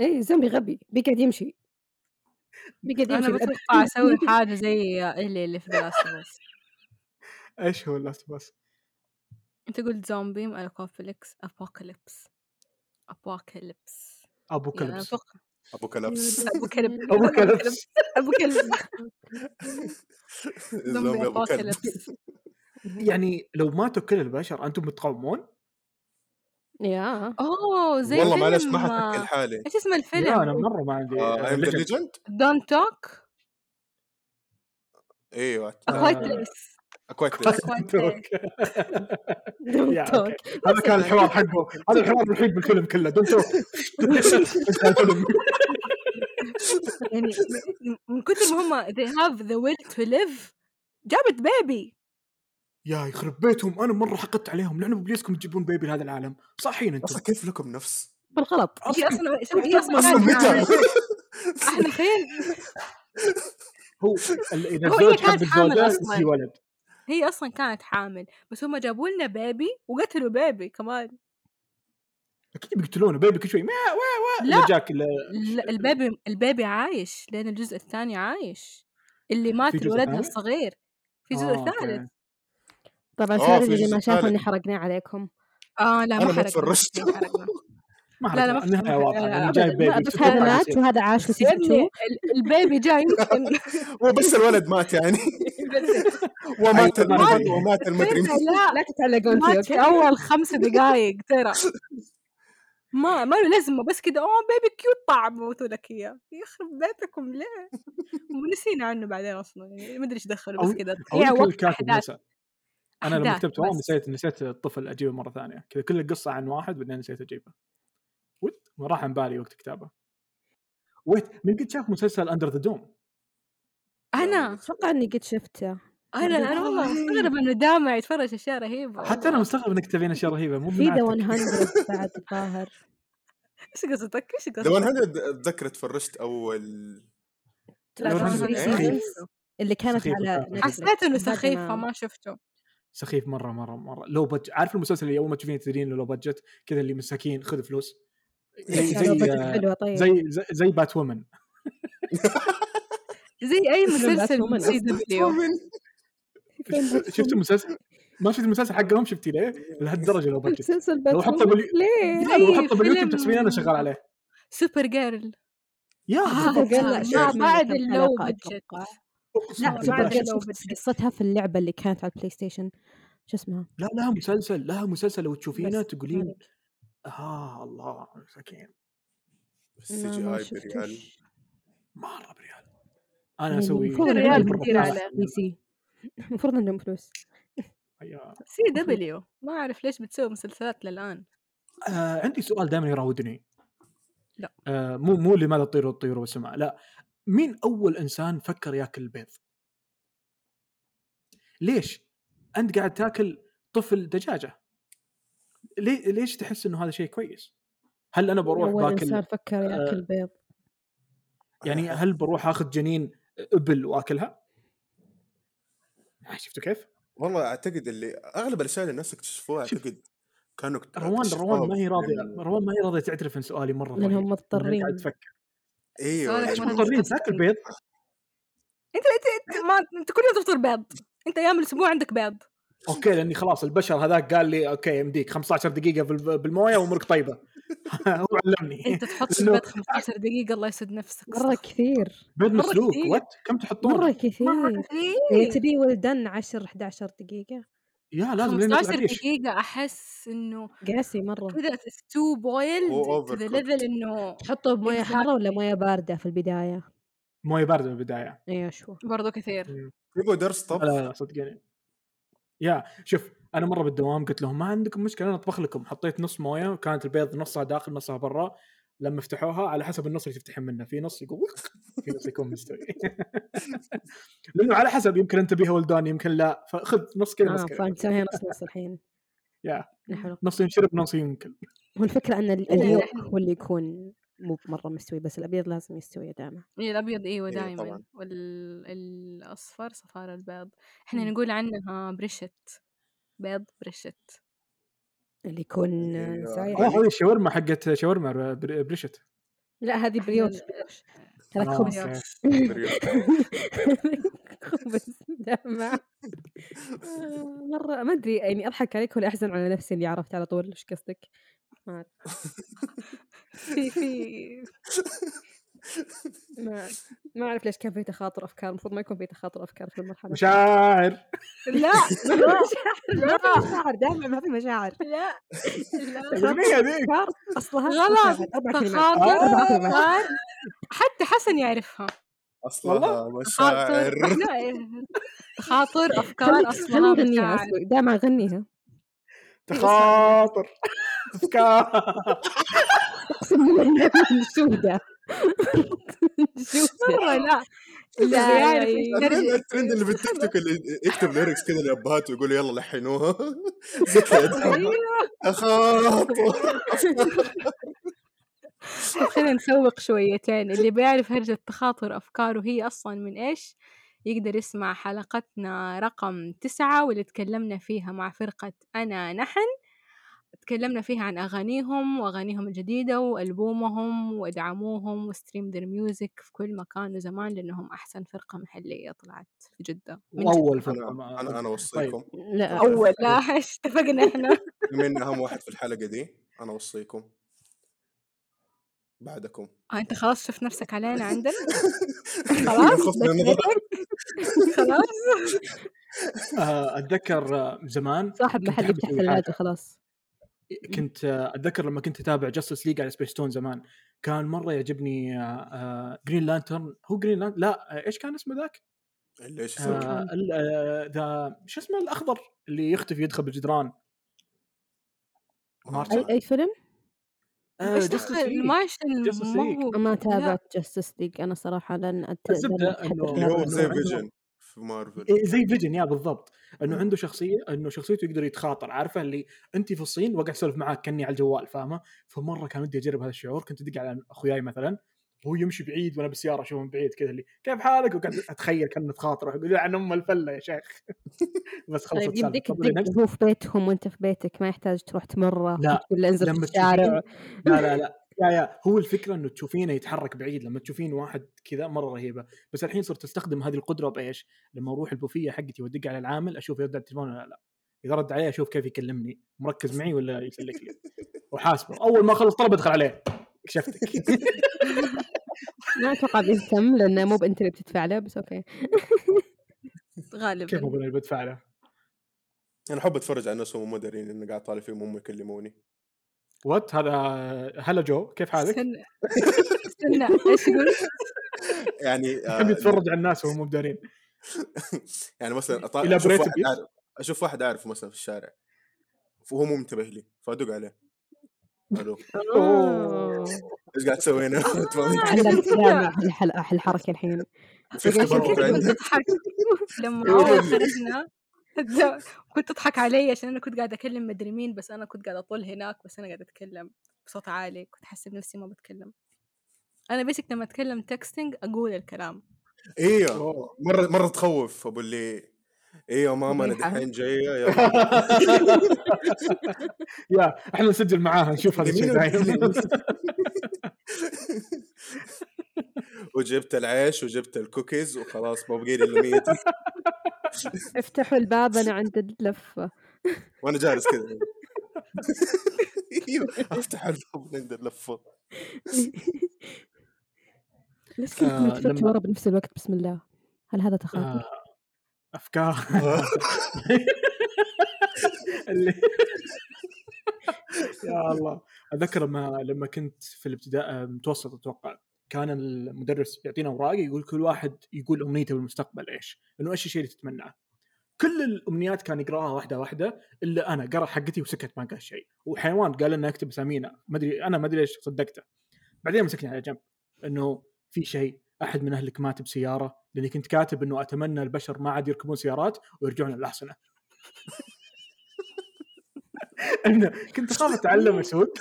Speaker 3: اي زومبي غبي بيقعد يمشي بيقعد
Speaker 1: انا
Speaker 3: يمشي الأب-
Speaker 1: بتوقع اسوي حاجة زي اللي اللي في دراستي بس
Speaker 2: ايش هو اللاست باس؟
Speaker 1: انت قلت زومبي ابوكاليبس ابوكاليبس ابوكاليبس
Speaker 2: ابو
Speaker 1: يعني انا
Speaker 2: كلبس
Speaker 1: اتوقع
Speaker 4: ابو كلبس
Speaker 1: ابو كلب
Speaker 2: ابو
Speaker 1: ابو كلب
Speaker 2: كلبس
Speaker 1: ابو كلب زومبي
Speaker 4: زومبي ابو كلب
Speaker 1: ابوكاليبس
Speaker 2: يعني لو ماتوا كل البشر انتم بتقاومون؟
Speaker 3: يا
Speaker 1: اوه زي
Speaker 4: والله معلش ما
Speaker 1: فيلم
Speaker 4: حتحكي
Speaker 1: آه،
Speaker 4: لحالي
Speaker 1: ايش اسم
Speaker 2: لا انا
Speaker 1: الفيلم
Speaker 2: مره ما عندي
Speaker 4: اي ام ذا
Speaker 2: ليجند
Speaker 4: ليجند
Speaker 1: دونت توك
Speaker 4: ايوه
Speaker 1: اكوايت
Speaker 2: آه.
Speaker 1: بليس
Speaker 4: كويت بليس
Speaker 1: أكوايت
Speaker 2: دونت يا اوكي
Speaker 3: دونت توك
Speaker 2: هذا كان
Speaker 1: يعني.
Speaker 2: الحوار حقه هذا الحوار الوحيد بالفيلم كله دونت توك انتهى الفيلم
Speaker 1: يعني من- من كثر ما هم they have the will to live جابت بيبي
Speaker 2: يا يخرب بيتهم انا مره حقدت عليهم لعنوا بليسكم تجيبون بيبي لهذا العالم صاحيين انتم
Speaker 4: اصلا كيف لكم نفس؟
Speaker 3: بالغلط
Speaker 1: هي اصلا شوف هي اصلا
Speaker 4: اصلا
Speaker 1: كانت
Speaker 4: متى؟
Speaker 1: حامل. احنا تخيل
Speaker 2: هو ال- اذا
Speaker 1: هو هي
Speaker 2: الزوج
Speaker 1: كانت
Speaker 2: حب
Speaker 1: حامل
Speaker 2: الزوجه
Speaker 1: أصلاً.
Speaker 2: يجي ولد
Speaker 1: هي اصلا كانت حامل بس هم جابوا لنا بيبي وقتلوا بيبي كمان
Speaker 2: اكيد بيقتلونه بيبي كل شوي ما وا وا
Speaker 1: لا.
Speaker 2: إذا جاك ال-
Speaker 1: لا، البيبي البيبي عايش لان الجزء الثاني عايش اللي مات
Speaker 2: في جزء
Speaker 1: الولد
Speaker 2: ثاني؟
Speaker 1: الصغير في جزء
Speaker 2: آه، أوكي.
Speaker 1: ثالث
Speaker 3: طبعا
Speaker 4: آه،
Speaker 3: سعد
Speaker 4: في
Speaker 3: اللي
Speaker 4: جزء
Speaker 3: ما شافه
Speaker 4: ثالث.
Speaker 3: اني حرقناه عليكم
Speaker 1: اه لا ما
Speaker 4: انا ما
Speaker 1: حرقنا
Speaker 4: تفرجت
Speaker 1: ما حرقنا لا، لا، ما
Speaker 2: ما حركة
Speaker 1: في-
Speaker 2: النهايه
Speaker 1: ما-
Speaker 2: واضحه
Speaker 1: لا،
Speaker 2: لانه
Speaker 1: أبداً.
Speaker 2: جاي
Speaker 1: ما-
Speaker 2: بيبي
Speaker 3: بس
Speaker 2: بس تتوقع
Speaker 3: هذا
Speaker 2: إنه
Speaker 3: مات
Speaker 2: يصير.
Speaker 3: وهذا عاش في سيزون 2
Speaker 1: ال- البيبي جاي يمكن
Speaker 4: وبس الولد مات يعني
Speaker 1: بس
Speaker 4: ومات
Speaker 2: أيوة، ما
Speaker 4: الولد
Speaker 2: أدري.
Speaker 4: ومات المدري
Speaker 1: تخيل لا
Speaker 3: لا تتعلقون فيه
Speaker 1: مات في
Speaker 3: اوكي
Speaker 1: اول خمس دقائق ترى ما ما له لازمه بس كده اوه بيبي كيوت طاع موتوا لك اياه يخرب بيتكم ليه؟ ونسينا عنه بعدين اصلا يعني ما ادري ايش دخلوا بس
Speaker 2: أو-
Speaker 1: كده
Speaker 2: او
Speaker 1: تضييع
Speaker 2: يمكن
Speaker 1: وقت
Speaker 2: الكاتب
Speaker 1: احداث
Speaker 2: نسى انا لما
Speaker 1: احداث
Speaker 2: كتبت والله
Speaker 1: بس
Speaker 2: نسيت نسيت الطفل اجيبه مره ثانيه كذا كل القصه عن واحد بعدين نسيت اجيبه وت راح عن بالي وقت كتابه ويت من قد شاف مسلسل اندر ذا دوم
Speaker 1: انا
Speaker 3: اتوقع اني قد شفته
Speaker 1: انا
Speaker 3: بعدين-
Speaker 1: انا والله
Speaker 2: آه.
Speaker 1: مستغرب انه دامع يتفرج اشياء رهيبه
Speaker 2: حتى انا مستغرب انك تبين اشياء رهيبه مو
Speaker 3: في
Speaker 2: من عادتك
Speaker 3: ذا 100 بعد الظاهر
Speaker 1: ايش قصدك؟ ايش
Speaker 4: ذا
Speaker 1: قصدك؟
Speaker 4: 100 اتذكر تفرجت اول
Speaker 3: طلعت
Speaker 2: لو إيه.
Speaker 3: من
Speaker 2: نزل
Speaker 3: three
Speaker 2: سخيف.
Speaker 3: seasons اللي كانت
Speaker 2: سخيف
Speaker 3: على
Speaker 2: وكافر.
Speaker 3: نتفلكس
Speaker 1: حسيت انه
Speaker 3: بعد ما-
Speaker 1: سخيف فما شفته
Speaker 2: سخيف مره مره مره لو بج... عارف المسلسل اللي اول ما تشوفين تدرين إنه لو بجت كذا اللي مساكين خذ فلوس زي
Speaker 3: كانوا
Speaker 2: زي
Speaker 3: بجت حلوه
Speaker 1: إيه.
Speaker 3: طيب
Speaker 2: زي زي, زي بات وومن
Speaker 1: زي اي
Speaker 3: فين
Speaker 1: مسلسل
Speaker 3: باتومن
Speaker 1: من سي دبليو
Speaker 3: فين
Speaker 2: شفت
Speaker 3: باتومن
Speaker 2: المسلسل ما شفت المسلسل حقهم شفتي ليه؟ لهالدرجه لو بجت
Speaker 3: مسلسل
Speaker 2: لو حطه
Speaker 3: باتومن
Speaker 2: باليو...
Speaker 3: ليه
Speaker 2: لا لو
Speaker 1: زي
Speaker 2: حطه باليوتيوب
Speaker 1: فيلم-
Speaker 2: تصميم انا شغال عليه
Speaker 1: سوبر جيرل
Speaker 2: يا
Speaker 3: سوبر
Speaker 2: بالضبط
Speaker 3: جيرل
Speaker 1: هذا مع بعد
Speaker 4: شايف.
Speaker 3: 20 كم
Speaker 1: اللو
Speaker 3: حلقة
Speaker 1: بجت
Speaker 3: أتوقع.
Speaker 2: اقسم
Speaker 3: لا
Speaker 1: مع
Speaker 3: سوبر
Speaker 1: بعد
Speaker 2: بالله
Speaker 3: جيرل
Speaker 1: اللو
Speaker 3: شفت
Speaker 1: بجت
Speaker 3: قصتها في اللعبة اللي كانت على البلاي ستيشن شو اسمها
Speaker 2: لا لها مسلسل لها مسلسل لو تشوفينه
Speaker 3: بس ما
Speaker 2: تقولين
Speaker 3: عليك
Speaker 2: اه الله مساكين
Speaker 4: السي جي
Speaker 3: ما ما
Speaker 4: اي بريال
Speaker 3: شفتوش
Speaker 2: مره بريال انا
Speaker 3: يعني
Speaker 2: اسوي
Speaker 3: المفروض
Speaker 1: في
Speaker 3: إن عندهم
Speaker 1: ريال
Speaker 2: مره
Speaker 1: كثير
Speaker 3: فلوس
Speaker 2: فاهم
Speaker 1: عليه
Speaker 3: دي سي المفروض عندهم فلوس
Speaker 2: أيوة.
Speaker 1: سي دبليو ما اعرف ليش بتسوي مسلسلات للان
Speaker 2: آه عندي سؤال دائما يراودني
Speaker 1: لا.
Speaker 2: آه مو مو لماذا الطير والطيور والسماء لا مين اول انسان فكر ياكل البيض؟ ليش؟ انت قاعد تاكل طفل دجاجه ليه ليش تحس انه هذا شيء كويس؟ هل انا بروح
Speaker 3: أول
Speaker 2: باكل
Speaker 3: إنسان فكر
Speaker 2: آه،
Speaker 3: ياكل بيض
Speaker 2: يعني
Speaker 4: أنا
Speaker 2: هل بروح اخذ جنين ابل واكلها؟ آه، شفتوا كيف؟
Speaker 4: والله اعتقد اللي اغلب الاشياء اللي الناس اكتشفوها
Speaker 2: شوف.
Speaker 4: اعتقد كانوا آه، اكت-
Speaker 2: روان روان ما هي راضيه
Speaker 4: من-
Speaker 2: روان ما هي راضيه تعترف ان سؤالي مره رهيب
Speaker 3: لأنهم
Speaker 2: يعني إنها قاعد
Speaker 3: مضطرين
Speaker 2: تفكر
Speaker 4: ايوه
Speaker 1: سؤالك
Speaker 2: ايش
Speaker 1: مرة
Speaker 4: لانه
Speaker 2: مضطرين تاكل
Speaker 1: disgusting.
Speaker 2: بيض؟
Speaker 1: انت انت انت, ما... انت كل يوم تفطر بيض انت ايام الاسبوع عندك بيض
Speaker 2: اوكي لاني خلاص البشر هذاك قال لي اوكي يمديك 15 دقيقه بال- بالمويه وامورك طيبه هو علمني
Speaker 1: انت تحط في
Speaker 2: لانه
Speaker 1: البيض 15 دقيقه الله يسعد نفسك
Speaker 3: مرة كثير
Speaker 2: بيض
Speaker 1: مرة
Speaker 2: مسلوق
Speaker 1: كثير.
Speaker 2: وات كم تحطون؟
Speaker 3: مرة
Speaker 1: مره
Speaker 3: كثير إذا
Speaker 1: كثير
Speaker 3: تبي ولدان 10 11 دقيقة
Speaker 2: يا لازم لين
Speaker 1: 15
Speaker 2: يطلع ريش
Speaker 1: دقيقه احس انه
Speaker 3: قاسي مرة
Speaker 1: كذا تو
Speaker 4: هو
Speaker 1: بويلد تو ذا
Speaker 4: overcooked.
Speaker 1: ليفل انه
Speaker 3: تحطه بموية حارة ولا
Speaker 1: اكزاكتلي
Speaker 3: موية باردة في البداية
Speaker 2: مويه بارده بالبدايه
Speaker 3: ايوه شو
Speaker 1: برضو كثير
Speaker 2: مم.
Speaker 4: يبغوا درس
Speaker 2: لا لا
Speaker 4: طبخ
Speaker 2: لا صدقني يا شوف انا مره بالدوام قلت لهم ما عندكم مشكله انا اطبخ لكم حطيت نص مويه وكانت البيض نصها داخل نصها برا لما فتحوها على حسب النص اللي تفتحين منه في نص يقول وخ، في نص يكون مستوي لانه على حسب يمكن انت بيها ولدان يمكن لا فخذ نص كذا نص
Speaker 3: اه
Speaker 2: كذا
Speaker 3: فنسويها نص نص الحين
Speaker 2: يا
Speaker 3: لا حول
Speaker 2: نص ينشرب نص يمكن
Speaker 3: هو الفكرة أن ال-
Speaker 1: لا
Speaker 3: اليوك
Speaker 1: نحن
Speaker 3: هو اللي يكون مو مرة مستوي بس الأبيض لازم يستوي دائما
Speaker 1: إيه، الابيض ايوه
Speaker 4: ايوه
Speaker 1: دائما
Speaker 4: طبعا
Speaker 1: والاصفر صفار البيض احنا
Speaker 3: مم.
Speaker 1: نقول عنها بريشت بيض بريشت
Speaker 3: اللي يكون آه،
Speaker 4: ايوه
Speaker 3: زايد
Speaker 2: اوه
Speaker 4: غني
Speaker 2: هذه الشاورما حقت شاورما بر- بريشت
Speaker 3: لا هذه
Speaker 1: احنا
Speaker 3: بريوش
Speaker 1: ن-
Speaker 3: بريوش هذا
Speaker 1: آه.
Speaker 2: اه
Speaker 3: خبز
Speaker 2: اوكي
Speaker 1: بريوش
Speaker 4: بريو
Speaker 3: خبز دمع آه، مرة ما أدري يعني أضحك عليك ولا أحزن على نفسي اللي عرفت على طول إيش قصدك ما أعرف.
Speaker 1: في في
Speaker 3: ما ما أعرف ليش كان في تخاطر أفكار المفروض ما يكون في تخاطر أفكار في المرحلة
Speaker 2: مشاعر
Speaker 1: لا
Speaker 3: ما في
Speaker 1: لا
Speaker 3: مشاعر
Speaker 1: لا
Speaker 3: ما في مشاعر دائما ما في مشاعر
Speaker 1: لا لا
Speaker 2: الاغنيه ذيك
Speaker 3: أفكار أصلها
Speaker 1: غلط
Speaker 3: مشاعر أربع كلمات
Speaker 1: تخاطر
Speaker 3: أربع
Speaker 2: آه.
Speaker 3: كلمات
Speaker 1: افكار حتى حسن يعرفها
Speaker 4: اصلها
Speaker 1: تخاطر
Speaker 4: مشاعر
Speaker 1: لا إيه. تخاطر افكار
Speaker 3: خليك
Speaker 1: اصلها
Speaker 3: خليني أغنيها
Speaker 1: مشاعر
Speaker 3: أصلا دائما أغنيها
Speaker 2: تخاطر افكار
Speaker 3: أقسم بالله إنها من الجودة من الجودة
Speaker 1: مره لا لا،
Speaker 3: يا
Speaker 1: يعرف
Speaker 3: عيني.
Speaker 1: يترجم.
Speaker 4: أتمنى الترند اللي بالتيك توك اللي يكتب ليركس كذا لاباته ويقول يلا لحنوها ذكريات اخاط
Speaker 1: خلينا نسوق شويتين اللي بيعرف هرجة تخاطر أفكاره هي أصلا من إيش يقدر يسمع حلقتنا رقم تسعة واللي تكلمنا فيها مع فرقة أنا نحن تكلمنا فيها عن أغانيهم وأغانيهم الجديدة وألبومهم وادعموهم وستريم دير ميوزك في كل مكان وزمان لأنهم أحسن فرقة محلية طلعت في جدة من جدة.
Speaker 2: واول
Speaker 4: انا
Speaker 2: فرقه مع-
Speaker 4: انا انا اوصيكم
Speaker 3: لا
Speaker 1: أول لا إيش اتفقنا إحنا
Speaker 4: بما اني اهم واحد في الحلقه دي انا اوصيكم بعدكم
Speaker 1: آه، أنت خلاص شفت نفسك علينا عندنا
Speaker 4: خلاص
Speaker 1: خلاص بس- خلاص
Speaker 2: آه، اتذكر آه، زمان
Speaker 3: صاحب
Speaker 2: كنت
Speaker 3: محل
Speaker 2: أحب
Speaker 3: يفتح
Speaker 2: أسوي حاجة.
Speaker 3: ثلاجة خلاص
Speaker 2: كنت آه، اتذكر لما كنت اتابع جاستس ليج على سبيس تون زمان كان مره يعجبني جرين لانترن هو جرين لانترن لا آه، ايش كان اسمه ذاك؟
Speaker 4: اللي ايش
Speaker 2: آه،
Speaker 4: يسوي؟
Speaker 2: ال- آه، ذا شو اسمه الاخضر اللي يختفي يدخل بالجدران
Speaker 4: ما أعرف.
Speaker 3: أي أي فيلم؟
Speaker 2: آه،
Speaker 1: ايش
Speaker 2: Justice
Speaker 1: دخل
Speaker 2: League.
Speaker 1: الماش
Speaker 2: Justice
Speaker 1: المو
Speaker 3: ما
Speaker 1: لا
Speaker 3: تابعت جاستس ليج أنا صراحة لأن أت-
Speaker 2: الزبدة
Speaker 3: لأن أتحدث
Speaker 2: إنه-
Speaker 4: اللي
Speaker 3: بهذا
Speaker 4: هو
Speaker 2: إنه
Speaker 4: زي
Speaker 2: عندهم-
Speaker 3: الموضوع.
Speaker 4: فيجن في مارفل
Speaker 2: أيوه، إيه، زي فيجن يا بالضبط انه
Speaker 4: مم.
Speaker 2: عنده شخصيه انه شخصيته يقدر يتخاطر عارفه اللي انت في الصين وقاعد اسولف معاك كاني على الجوال فاهمه فمره كان ودي اجرب هذا الشعور كنت ادق على اخوياي مثلا وهو يمشي بعيد وانا بالسياره اشوفه من بعيد كذا اللي كيف حالك وقاعد اتخيل كانه تخاطر يقول عن ام الفله يا شيخ بس خلصت إيه،
Speaker 3: طيب
Speaker 2: السالفه
Speaker 3: يمديك
Speaker 2: تفضلي
Speaker 3: تدق
Speaker 2: نفس
Speaker 3: وهو في بيتهم وانت في بيتك ما يحتاج تروح تمره
Speaker 2: لا،
Speaker 3: وتقول له انزل في
Speaker 2: لما
Speaker 3: الشارع
Speaker 2: تشوفين لا لا لا يا يا هو الفكره انه تشوفينه يتحرك بعيد لما تشوفين واحد كذا مره رهيبه بس الحين صرت استخدم هذه القدره بايش؟ لما اروح البوفيه حقتي وادق على العامل اشوف يرد على التليفون ولا لا اذا رد عليه اشوف كيف يكلمني مركز معي ولا يسلك لي وحاسبه اول ما اخلص طلب ادخل عليه كشفتك
Speaker 3: ما اتوقع بيهتم لانه مو انت اللي بتدفع له بس اوكي
Speaker 2: كيف
Speaker 1: غالبا
Speaker 2: اقول اللي بدفع له
Speaker 4: انا احب اتفرج على الناس وهم مو دارين اني قاعد طالع فيهم هم يكلموني
Speaker 2: وات هذا هلا جو كيف حالك؟
Speaker 1: استنى استنى ايش قلت؟
Speaker 4: يعني آه،
Speaker 2: يحب يتفرج على الناس وهم مو بدارين
Speaker 4: يعني مثلا أطالع
Speaker 2: Elaborate
Speaker 4: اشوف
Speaker 2: a
Speaker 4: واحد
Speaker 2: bit.
Speaker 4: عارف اشوف واحد عارف مثلا في الشارع وهو مو منتبه لي فادق عليه الو
Speaker 2: أوه.
Speaker 4: ايش قاعد تسوي هنا؟
Speaker 1: آه، عشان
Speaker 3: علمت
Speaker 1: كذا
Speaker 3: سامع هالحل- هالحركه الحين
Speaker 4: في
Speaker 1: عشان كذا
Speaker 4: اختبار بكره
Speaker 1: كنت
Speaker 4: عندك
Speaker 1: اضحك
Speaker 2: إيه
Speaker 1: لما
Speaker 4: يقول
Speaker 1: اول
Speaker 4: لي.
Speaker 1: خرجنا د- كنت اضحك علي عشان انا كنت قاعده اكلم مدري مين بس انا كنت قاعده اطول هناك بس انا قاعده اتكلم بصوت عالي كنت حاسه بنفسي ما بتكلم انا بيسك لما اتكلم تكستنج اقول الكلام
Speaker 4: ايوه
Speaker 2: أوه.
Speaker 4: مره مره تخوف ابو اللي ايوه ماما انا
Speaker 1: مريحة.
Speaker 4: دحين جايه يلا
Speaker 2: يا احنا نسجل معاها نشوف هذا الشيء
Speaker 4: جميله
Speaker 2: دايم
Speaker 4: وجبت العيش وجبت الكوكيز وخلاص ما بقي لي الا 100
Speaker 3: افتحوا الباب انا عند اللفه
Speaker 4: وانا جالس كذا ايوه افتح الباب نقدر لفه
Speaker 3: ليش كلكم
Speaker 2: آه،
Speaker 3: لفيتوا
Speaker 2: لما-
Speaker 3: ورا بنفس الوقت بسم الله هل هذا
Speaker 2: آه،
Speaker 3: تخاطر؟
Speaker 2: افكار اللي يا الله اتذكر لما لما كنت في الابتداء آه، متوسط اتوقع كان المدرس يعطينا اوراق يقول كل واحد يقول امنيته بالمستقبل ايش؟ انه ايش الشيء اللي تتمناه؟ كل الامنيات كان يقراها واحده واحده الا انا قرا حقتي وسكت ما قال شيء وحيوان قال لنا اكتب اسامينا ما ادري انا ما ادري ليش صدقته بعدين مسكني على جنب انه في شيء احد من اهلك مات بسياره لاني كنت كاتب انه اتمنى البشر ما عاد يركبون سيارات ويرجعون للاحصنه انه كنت اخاف اتعلم اسوق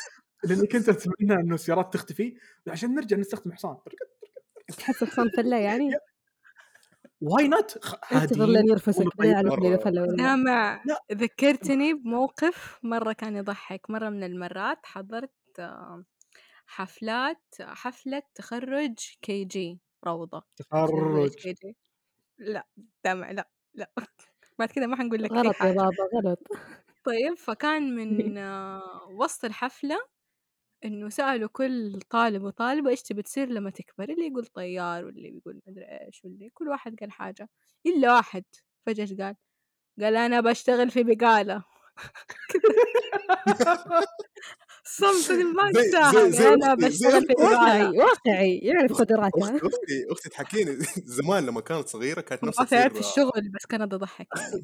Speaker 2: لاني كنت اتمنى انه السيارات تختفي عشان نرجع نستخدم حصان
Speaker 3: تحس حصان فله يعني؟
Speaker 2: واي نوت هادين
Speaker 3: انتظر لين يرفسك بعدين اعرف
Speaker 4: مرة.
Speaker 3: لين فله ولا لا.
Speaker 1: دامع
Speaker 2: لا.
Speaker 1: ذكرتني بموقف مرة كان يضحك مرة من المرات حضرت آه، حفلات حفلة تخرج كي جي روضة تخرج
Speaker 2: تخرج
Speaker 1: كي جي لا دامع لا لا بعد كده ما حنقول لك أي
Speaker 3: غلط يا
Speaker 1: حاجة
Speaker 3: بابا غلط
Speaker 1: طيب فكان من آه، وسط الحفلة إنه سألوا كل طالب وطالبة إيش تبي تصير لما تكبر اللي يقول طيار واللي يقول مدري إيش واللي كل واحد قال حاجة إلا واحد فجأة إيش قال قال أنا بشتغل في بقالة صمت ما
Speaker 4: زي- زي-
Speaker 1: انتهى
Speaker 4: زي
Speaker 1: انا
Speaker 4: أختي- زي
Speaker 1: بشتغل في
Speaker 4: أختي.
Speaker 1: بقالة
Speaker 3: واقعي واقعي يعرف
Speaker 4: اختي
Speaker 3: قدراته
Speaker 4: اختي اختي تحكيني زمان لما كانت صغيره كانت
Speaker 1: ما
Speaker 4: نفسها
Speaker 1: تعرف
Speaker 4: تصير
Speaker 1: في الشغل بس كان اضحك يعني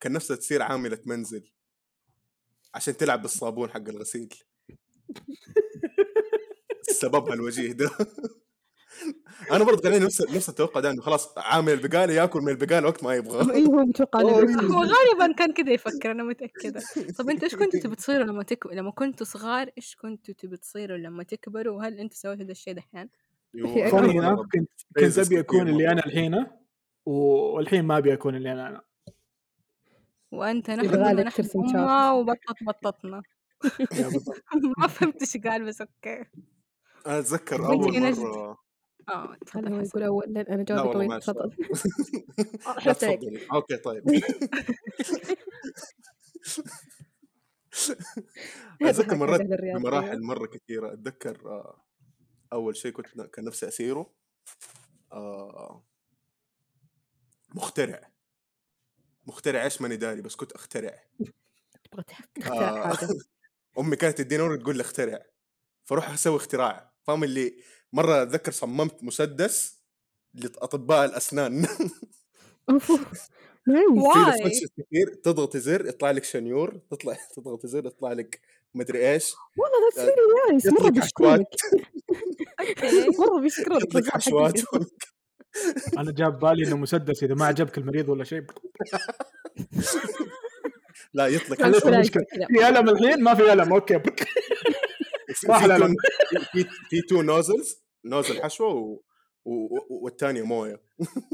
Speaker 4: كان نفسها تصير عامله منزل عشان تلعب بالصابون حق الغسيل سببها الوجيه ده انا برضه كان عندي نفس نفس التوقع ده انه خلاص عامل البقاله ياكل من البقاله وقت ما يبغى
Speaker 3: اي إيه، هو متوقع
Speaker 4: أوه،
Speaker 3: انه
Speaker 1: هو غالبا كان كذا يفكر انا متاكده طب انت ايش كنتوا تبي تصيروا لما تك... لما كنتوا صغار ايش كنتوا تبي تصيروا لما تكبروا وهل انتوا سويتوا هذا الشيء دحين
Speaker 4: أيوة،
Speaker 3: في-
Speaker 2: فاني
Speaker 4: مرة-
Speaker 2: انا
Speaker 4: مرة
Speaker 2: كنت كنت
Speaker 4: phases
Speaker 2: ابي اكون
Speaker 4: كتير
Speaker 2: اللي
Speaker 4: مرة.
Speaker 2: انا الحينه والحين ما ابي اكون اللي انا انا
Speaker 1: وانت نحن
Speaker 3: يبغى لك
Speaker 1: ونحن
Speaker 3: ترسم
Speaker 1: امه
Speaker 3: شعر.
Speaker 1: وبطط بططنا
Speaker 2: يا بالضبط.
Speaker 1: ما فهمت ايش قال بس اوكي
Speaker 4: انا اتذكر
Speaker 1: وانت
Speaker 4: اول
Speaker 1: يا نجد؟
Speaker 4: مره
Speaker 1: اه
Speaker 3: خلنا
Speaker 1: تفضل حسن
Speaker 3: هو يقول اول لان انا
Speaker 4: لا
Speaker 3: جوابي
Speaker 4: والله
Speaker 3: طويل
Speaker 4: معلش
Speaker 3: تفضل
Speaker 4: لا
Speaker 3: حرفت عليك
Speaker 4: تفضلي اوكي طيب اتذكر
Speaker 3: هذا
Speaker 4: مرات
Speaker 3: هذا الرياض
Speaker 4: بمراحل مره كثيره اتذكر آه، اول شيء كنت كان نفسي اسيره آه، مخترع مخترع ايش ماني داري بس كنت اخترع
Speaker 3: تبغى تختار
Speaker 4: آه.
Speaker 3: حاجه
Speaker 4: امي كانت تديني ورقه تقول لي اخترع فاروح اسوي اختراع فاهم اللي مره اتذكر صممت مسدس لاطباء الاسنان
Speaker 3: اوف أوف. نايس
Speaker 4: في
Speaker 1: واي
Speaker 4: ديسبنسرز كثير تضغط زر يطلع لك شنيور تطلع تضغط زر يطلع لك مدري ايش
Speaker 3: والله
Speaker 4: آه،
Speaker 3: ذاتس ريلي نايس مره
Speaker 4: يطلق حشوات
Speaker 3: بيشكرونك
Speaker 1: اوكي
Speaker 3: مره بيشكرونك
Speaker 4: يطلق
Speaker 3: الجزء
Speaker 4: حشوات
Speaker 3: حقك
Speaker 2: انا جاب بالي انه مسدس اذا ما عجبك المريض ولا شيء
Speaker 4: لا يطلق
Speaker 2: خلينا مشكله
Speaker 3: مشكلة، مشكلة.
Speaker 2: في الم الحين ما في الم اوكي
Speaker 4: في
Speaker 2: راح
Speaker 4: في
Speaker 2: الألم.
Speaker 4: تو- في في تو نوزلز نوزل حشوه و... و... و- والثانيه مويه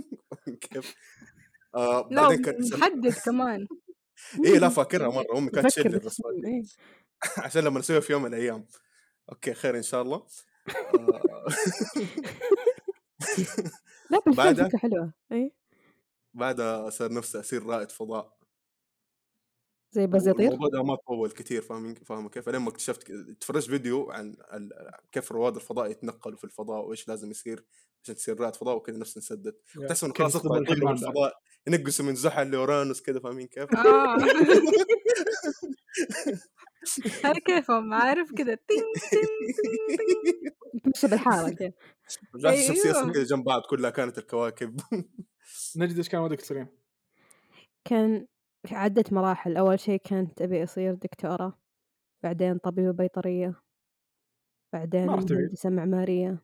Speaker 4: كيف؟ آه
Speaker 1: لا
Speaker 4: بعدين كان
Speaker 1: محدد كمان
Speaker 4: اي إيه، لا فاكرها مره امي كانت
Speaker 3: فكر
Speaker 4: تشيل الرسمه
Speaker 3: بالتصميم، إيه.
Speaker 4: عشان لما نسويها في يوم من الايام اوكي خير ان شاء الله آه
Speaker 3: لا بالفعل
Speaker 4: بعدها؟
Speaker 3: فكره حلوه اي
Speaker 4: بعدها صار نفسي اصير رائد فضاء
Speaker 3: زي باز يطير
Speaker 4: والموضوع ده ما طول كثير فاهم فاهم كيف لما اكتشفت ك- تفرجت فيديو عن ال... كيف رواد الفضاء يتنقلوا في الفضاء وايش لازم يصير عشان تصير رائد فضاء وكذا نفسي نسدد تحس انه
Speaker 2: كيف
Speaker 4: خلاص اطلع يطلعوا
Speaker 2: يصطدم
Speaker 4: من
Speaker 2: الحمام بعد.
Speaker 4: الفضاء ينقصوا من زحل لاورانوس كذا فاهمين كيف؟
Speaker 1: اه هاي كيفهم عارف كذا تين تين تين تين
Speaker 3: تمشي بالحاره كذا
Speaker 4: رجعت الشمسيه اصلا
Speaker 1: أيوه.
Speaker 4: كذا جنب بعض كلها كانت الكواكب
Speaker 2: نجد ايش كان ودك تصيرين؟
Speaker 3: كان في عدة مراحل أول شيء كانت أبي أصير دكتورة بعدين طبيبة بيطرية بعدين
Speaker 2: ما رحت بعيد.
Speaker 3: مهندسة معمارية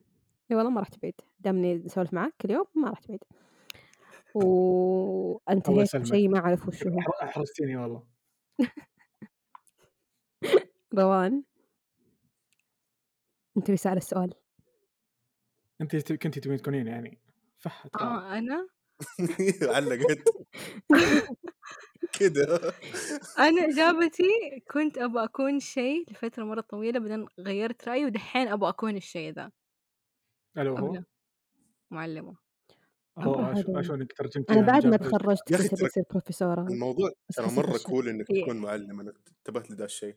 Speaker 3: اي والله ما رحت بعيد دامني أسولف معك اليوم ما رحت بعيد
Speaker 2: الله
Speaker 3: وانتهيت
Speaker 2: يسلمك.
Speaker 3: بشيء ما أعرف وش هو
Speaker 2: أحر- احرجتيني والله
Speaker 3: روان أنت بيسأل السؤال
Speaker 2: انت ت- كنت تبين تكونين يعني فحت
Speaker 3: آه.
Speaker 2: قال.
Speaker 1: اه انا
Speaker 4: علقت كذا
Speaker 1: انا اجابتي كنت ابغى اكون شيء لفتره مره طويله بعدين غيرت رايي ودحين ابغى اكون الشيء ذا
Speaker 2: الو هو
Speaker 1: أبلة معلمه
Speaker 2: هو
Speaker 3: مرة
Speaker 2: عش-
Speaker 3: آه، هذا.
Speaker 2: عشان انك ترجمتيها
Speaker 3: أنا
Speaker 2: من
Speaker 3: بعد ما
Speaker 2: يعني جاب إيش؟
Speaker 3: تخرجت
Speaker 4: يا أخي
Speaker 3: كنت أبي
Speaker 4: ترى
Speaker 3: أصير بروفيسورة
Speaker 4: الموضوع
Speaker 3: بس
Speaker 4: ترى
Speaker 3: حسيت
Speaker 4: مره
Speaker 3: الشغل
Speaker 4: كول انك
Speaker 1: إيه.
Speaker 4: تكون معلم انا انتبهت لذا الشيء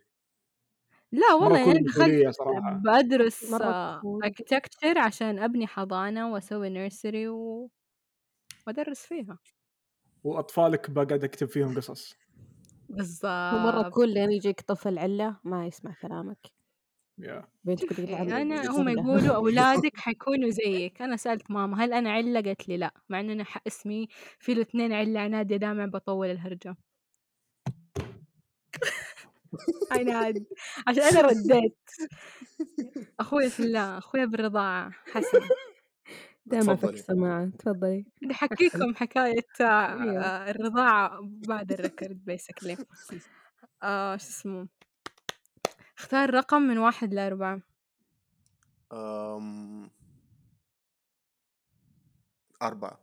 Speaker 1: لا والله
Speaker 2: مره
Speaker 1: يعني
Speaker 2: كل
Speaker 1: أنا دخلت
Speaker 2: مسؤوليه صراحه
Speaker 1: بدرس
Speaker 3: مرة cool.
Speaker 1: اركتكتشر عشان ابني حضانه واسوي نيرسري و... وادرس فيها
Speaker 2: واطفالك بقعد اكتب فيهم قصص
Speaker 3: ومرة
Speaker 1: بالضبط
Speaker 3: كل لأن يجيك طفل علة ما يسمع كلامك
Speaker 2: يا
Speaker 3: بنتك ذيك العمر
Speaker 1: انا إيه، هم
Speaker 3: بالله.
Speaker 1: يقولوا اولادك حيكونوا زيك انا سالت ماما هل انا عله قالت لي لا مع ان انا ح- اسمي في الاثنين عله عناد يا دامع بطول الهرجه عناد عشان انا رديت اخوي في الله اخوي بالرضاعه حسن
Speaker 3: دائما فك
Speaker 4: تفضلي
Speaker 3: السماعة تفضلي
Speaker 1: بدي احكيكم حكايه آه،
Speaker 3: أيوه.
Speaker 1: آه، الرضاعه بعد الركرد بيسكلي آه شو اسمه اختار رقم من واحد لأربعة
Speaker 4: أم... أربعة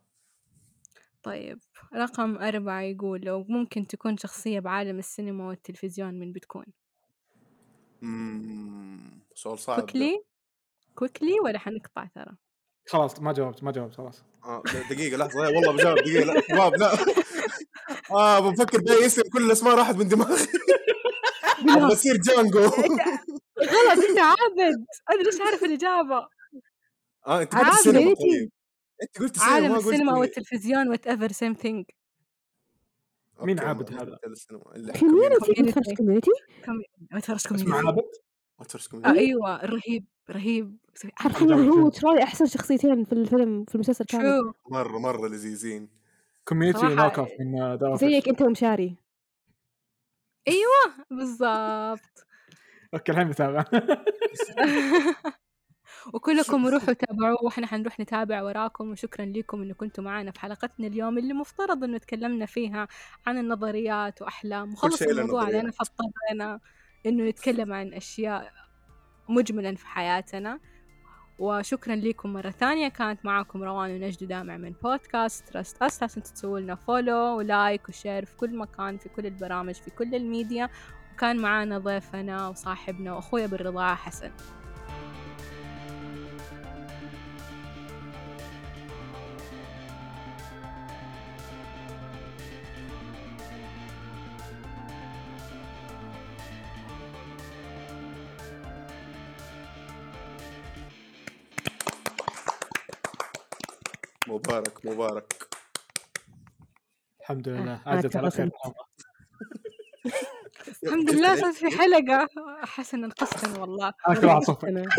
Speaker 1: طيب رقم أربعة يقول لو ممكن تكون شخصية بعالم السينما والتلفزيون من بتكون
Speaker 4: مم... سؤال صعب ده
Speaker 1: كويكلي كويكلي ولا حنقطع ترى
Speaker 2: خلاص ما جاوبت ما جاوبت خلاص
Speaker 4: آه د- دقيقة لحظة لا، والله بجاوب دقيقة لا شباب لا اه بفكر باي اسم كل الاسماء راحت من دماغي ابغى
Speaker 1: بالله
Speaker 4: اصير جانجو
Speaker 1: غلط انت عابد انا ليش عارف الإجابة
Speaker 4: اه انت قلت
Speaker 1: عابد
Speaker 4: السينما
Speaker 3: ريتي.
Speaker 4: طيب انت قلت السينما
Speaker 1: عالم
Speaker 4: ما قلت
Speaker 1: السينما والتلفزيون وات ايفر سيم ثينج
Speaker 2: مين
Speaker 4: أوكي،
Speaker 2: عابد
Speaker 4: ما-
Speaker 2: هذا؟
Speaker 4: ما قلت السينما الا
Speaker 3: الحين مين
Speaker 4: كوميونتي
Speaker 3: أنا ما تفرج
Speaker 1: Community.
Speaker 3: كوميونتي
Speaker 1: ما تفرج
Speaker 2: اسمع
Speaker 1: كوميدي
Speaker 2: عابد
Speaker 4: واترس
Speaker 1: آه
Speaker 4: كوميونتي
Speaker 1: ايوه رهيب رهيب
Speaker 3: حرفيا
Speaker 2: جابت
Speaker 3: هو
Speaker 2: جون.
Speaker 3: وتراي أحسن شخصيتين في الفيلم في المسلسل كامل
Speaker 1: شو
Speaker 4: مرة مرة لذيذين
Speaker 2: كوميونتي
Speaker 1: صراحة
Speaker 2: نوك اوف من آه، ذا اوفيس
Speaker 3: زيك أنت ومشاري
Speaker 1: ايوه بالضبط
Speaker 2: اوكي الحين بتابع
Speaker 1: وكلكم روحوا تابعوه واحنا حنروح نتابع وراكم وشكرا لكم انه كنتم معنا في حلقتنا اليوم اللي مفترض انه تكلمنا فيها عن النظريات واحلام وخلص
Speaker 4: شيء له
Speaker 1: الموضوع
Speaker 4: نظريات.
Speaker 1: علينا فاضطرينا انه نتكلم عن اشياء مجملا في حياتنا وشكرا لكم مرة ثانية كانت معاكم روان ونجد دامع من بودكاست تراست أس لا تنسوا تسووا لنا فولو ولايك وشير في كل مكان في كل البرامج في كل الميديا وكان معانا ضيفنا وصاحبنا وأخويا بالرضاعة حسن
Speaker 4: مبارك مبارك
Speaker 2: الحمد لله
Speaker 3: آه،
Speaker 2: عدت على خير
Speaker 3: تبسمت.
Speaker 2: الأمر.
Speaker 1: الحمد لله صار في حلقة حسن انقذتني والله
Speaker 2: اكل عصفة
Speaker 3: أنا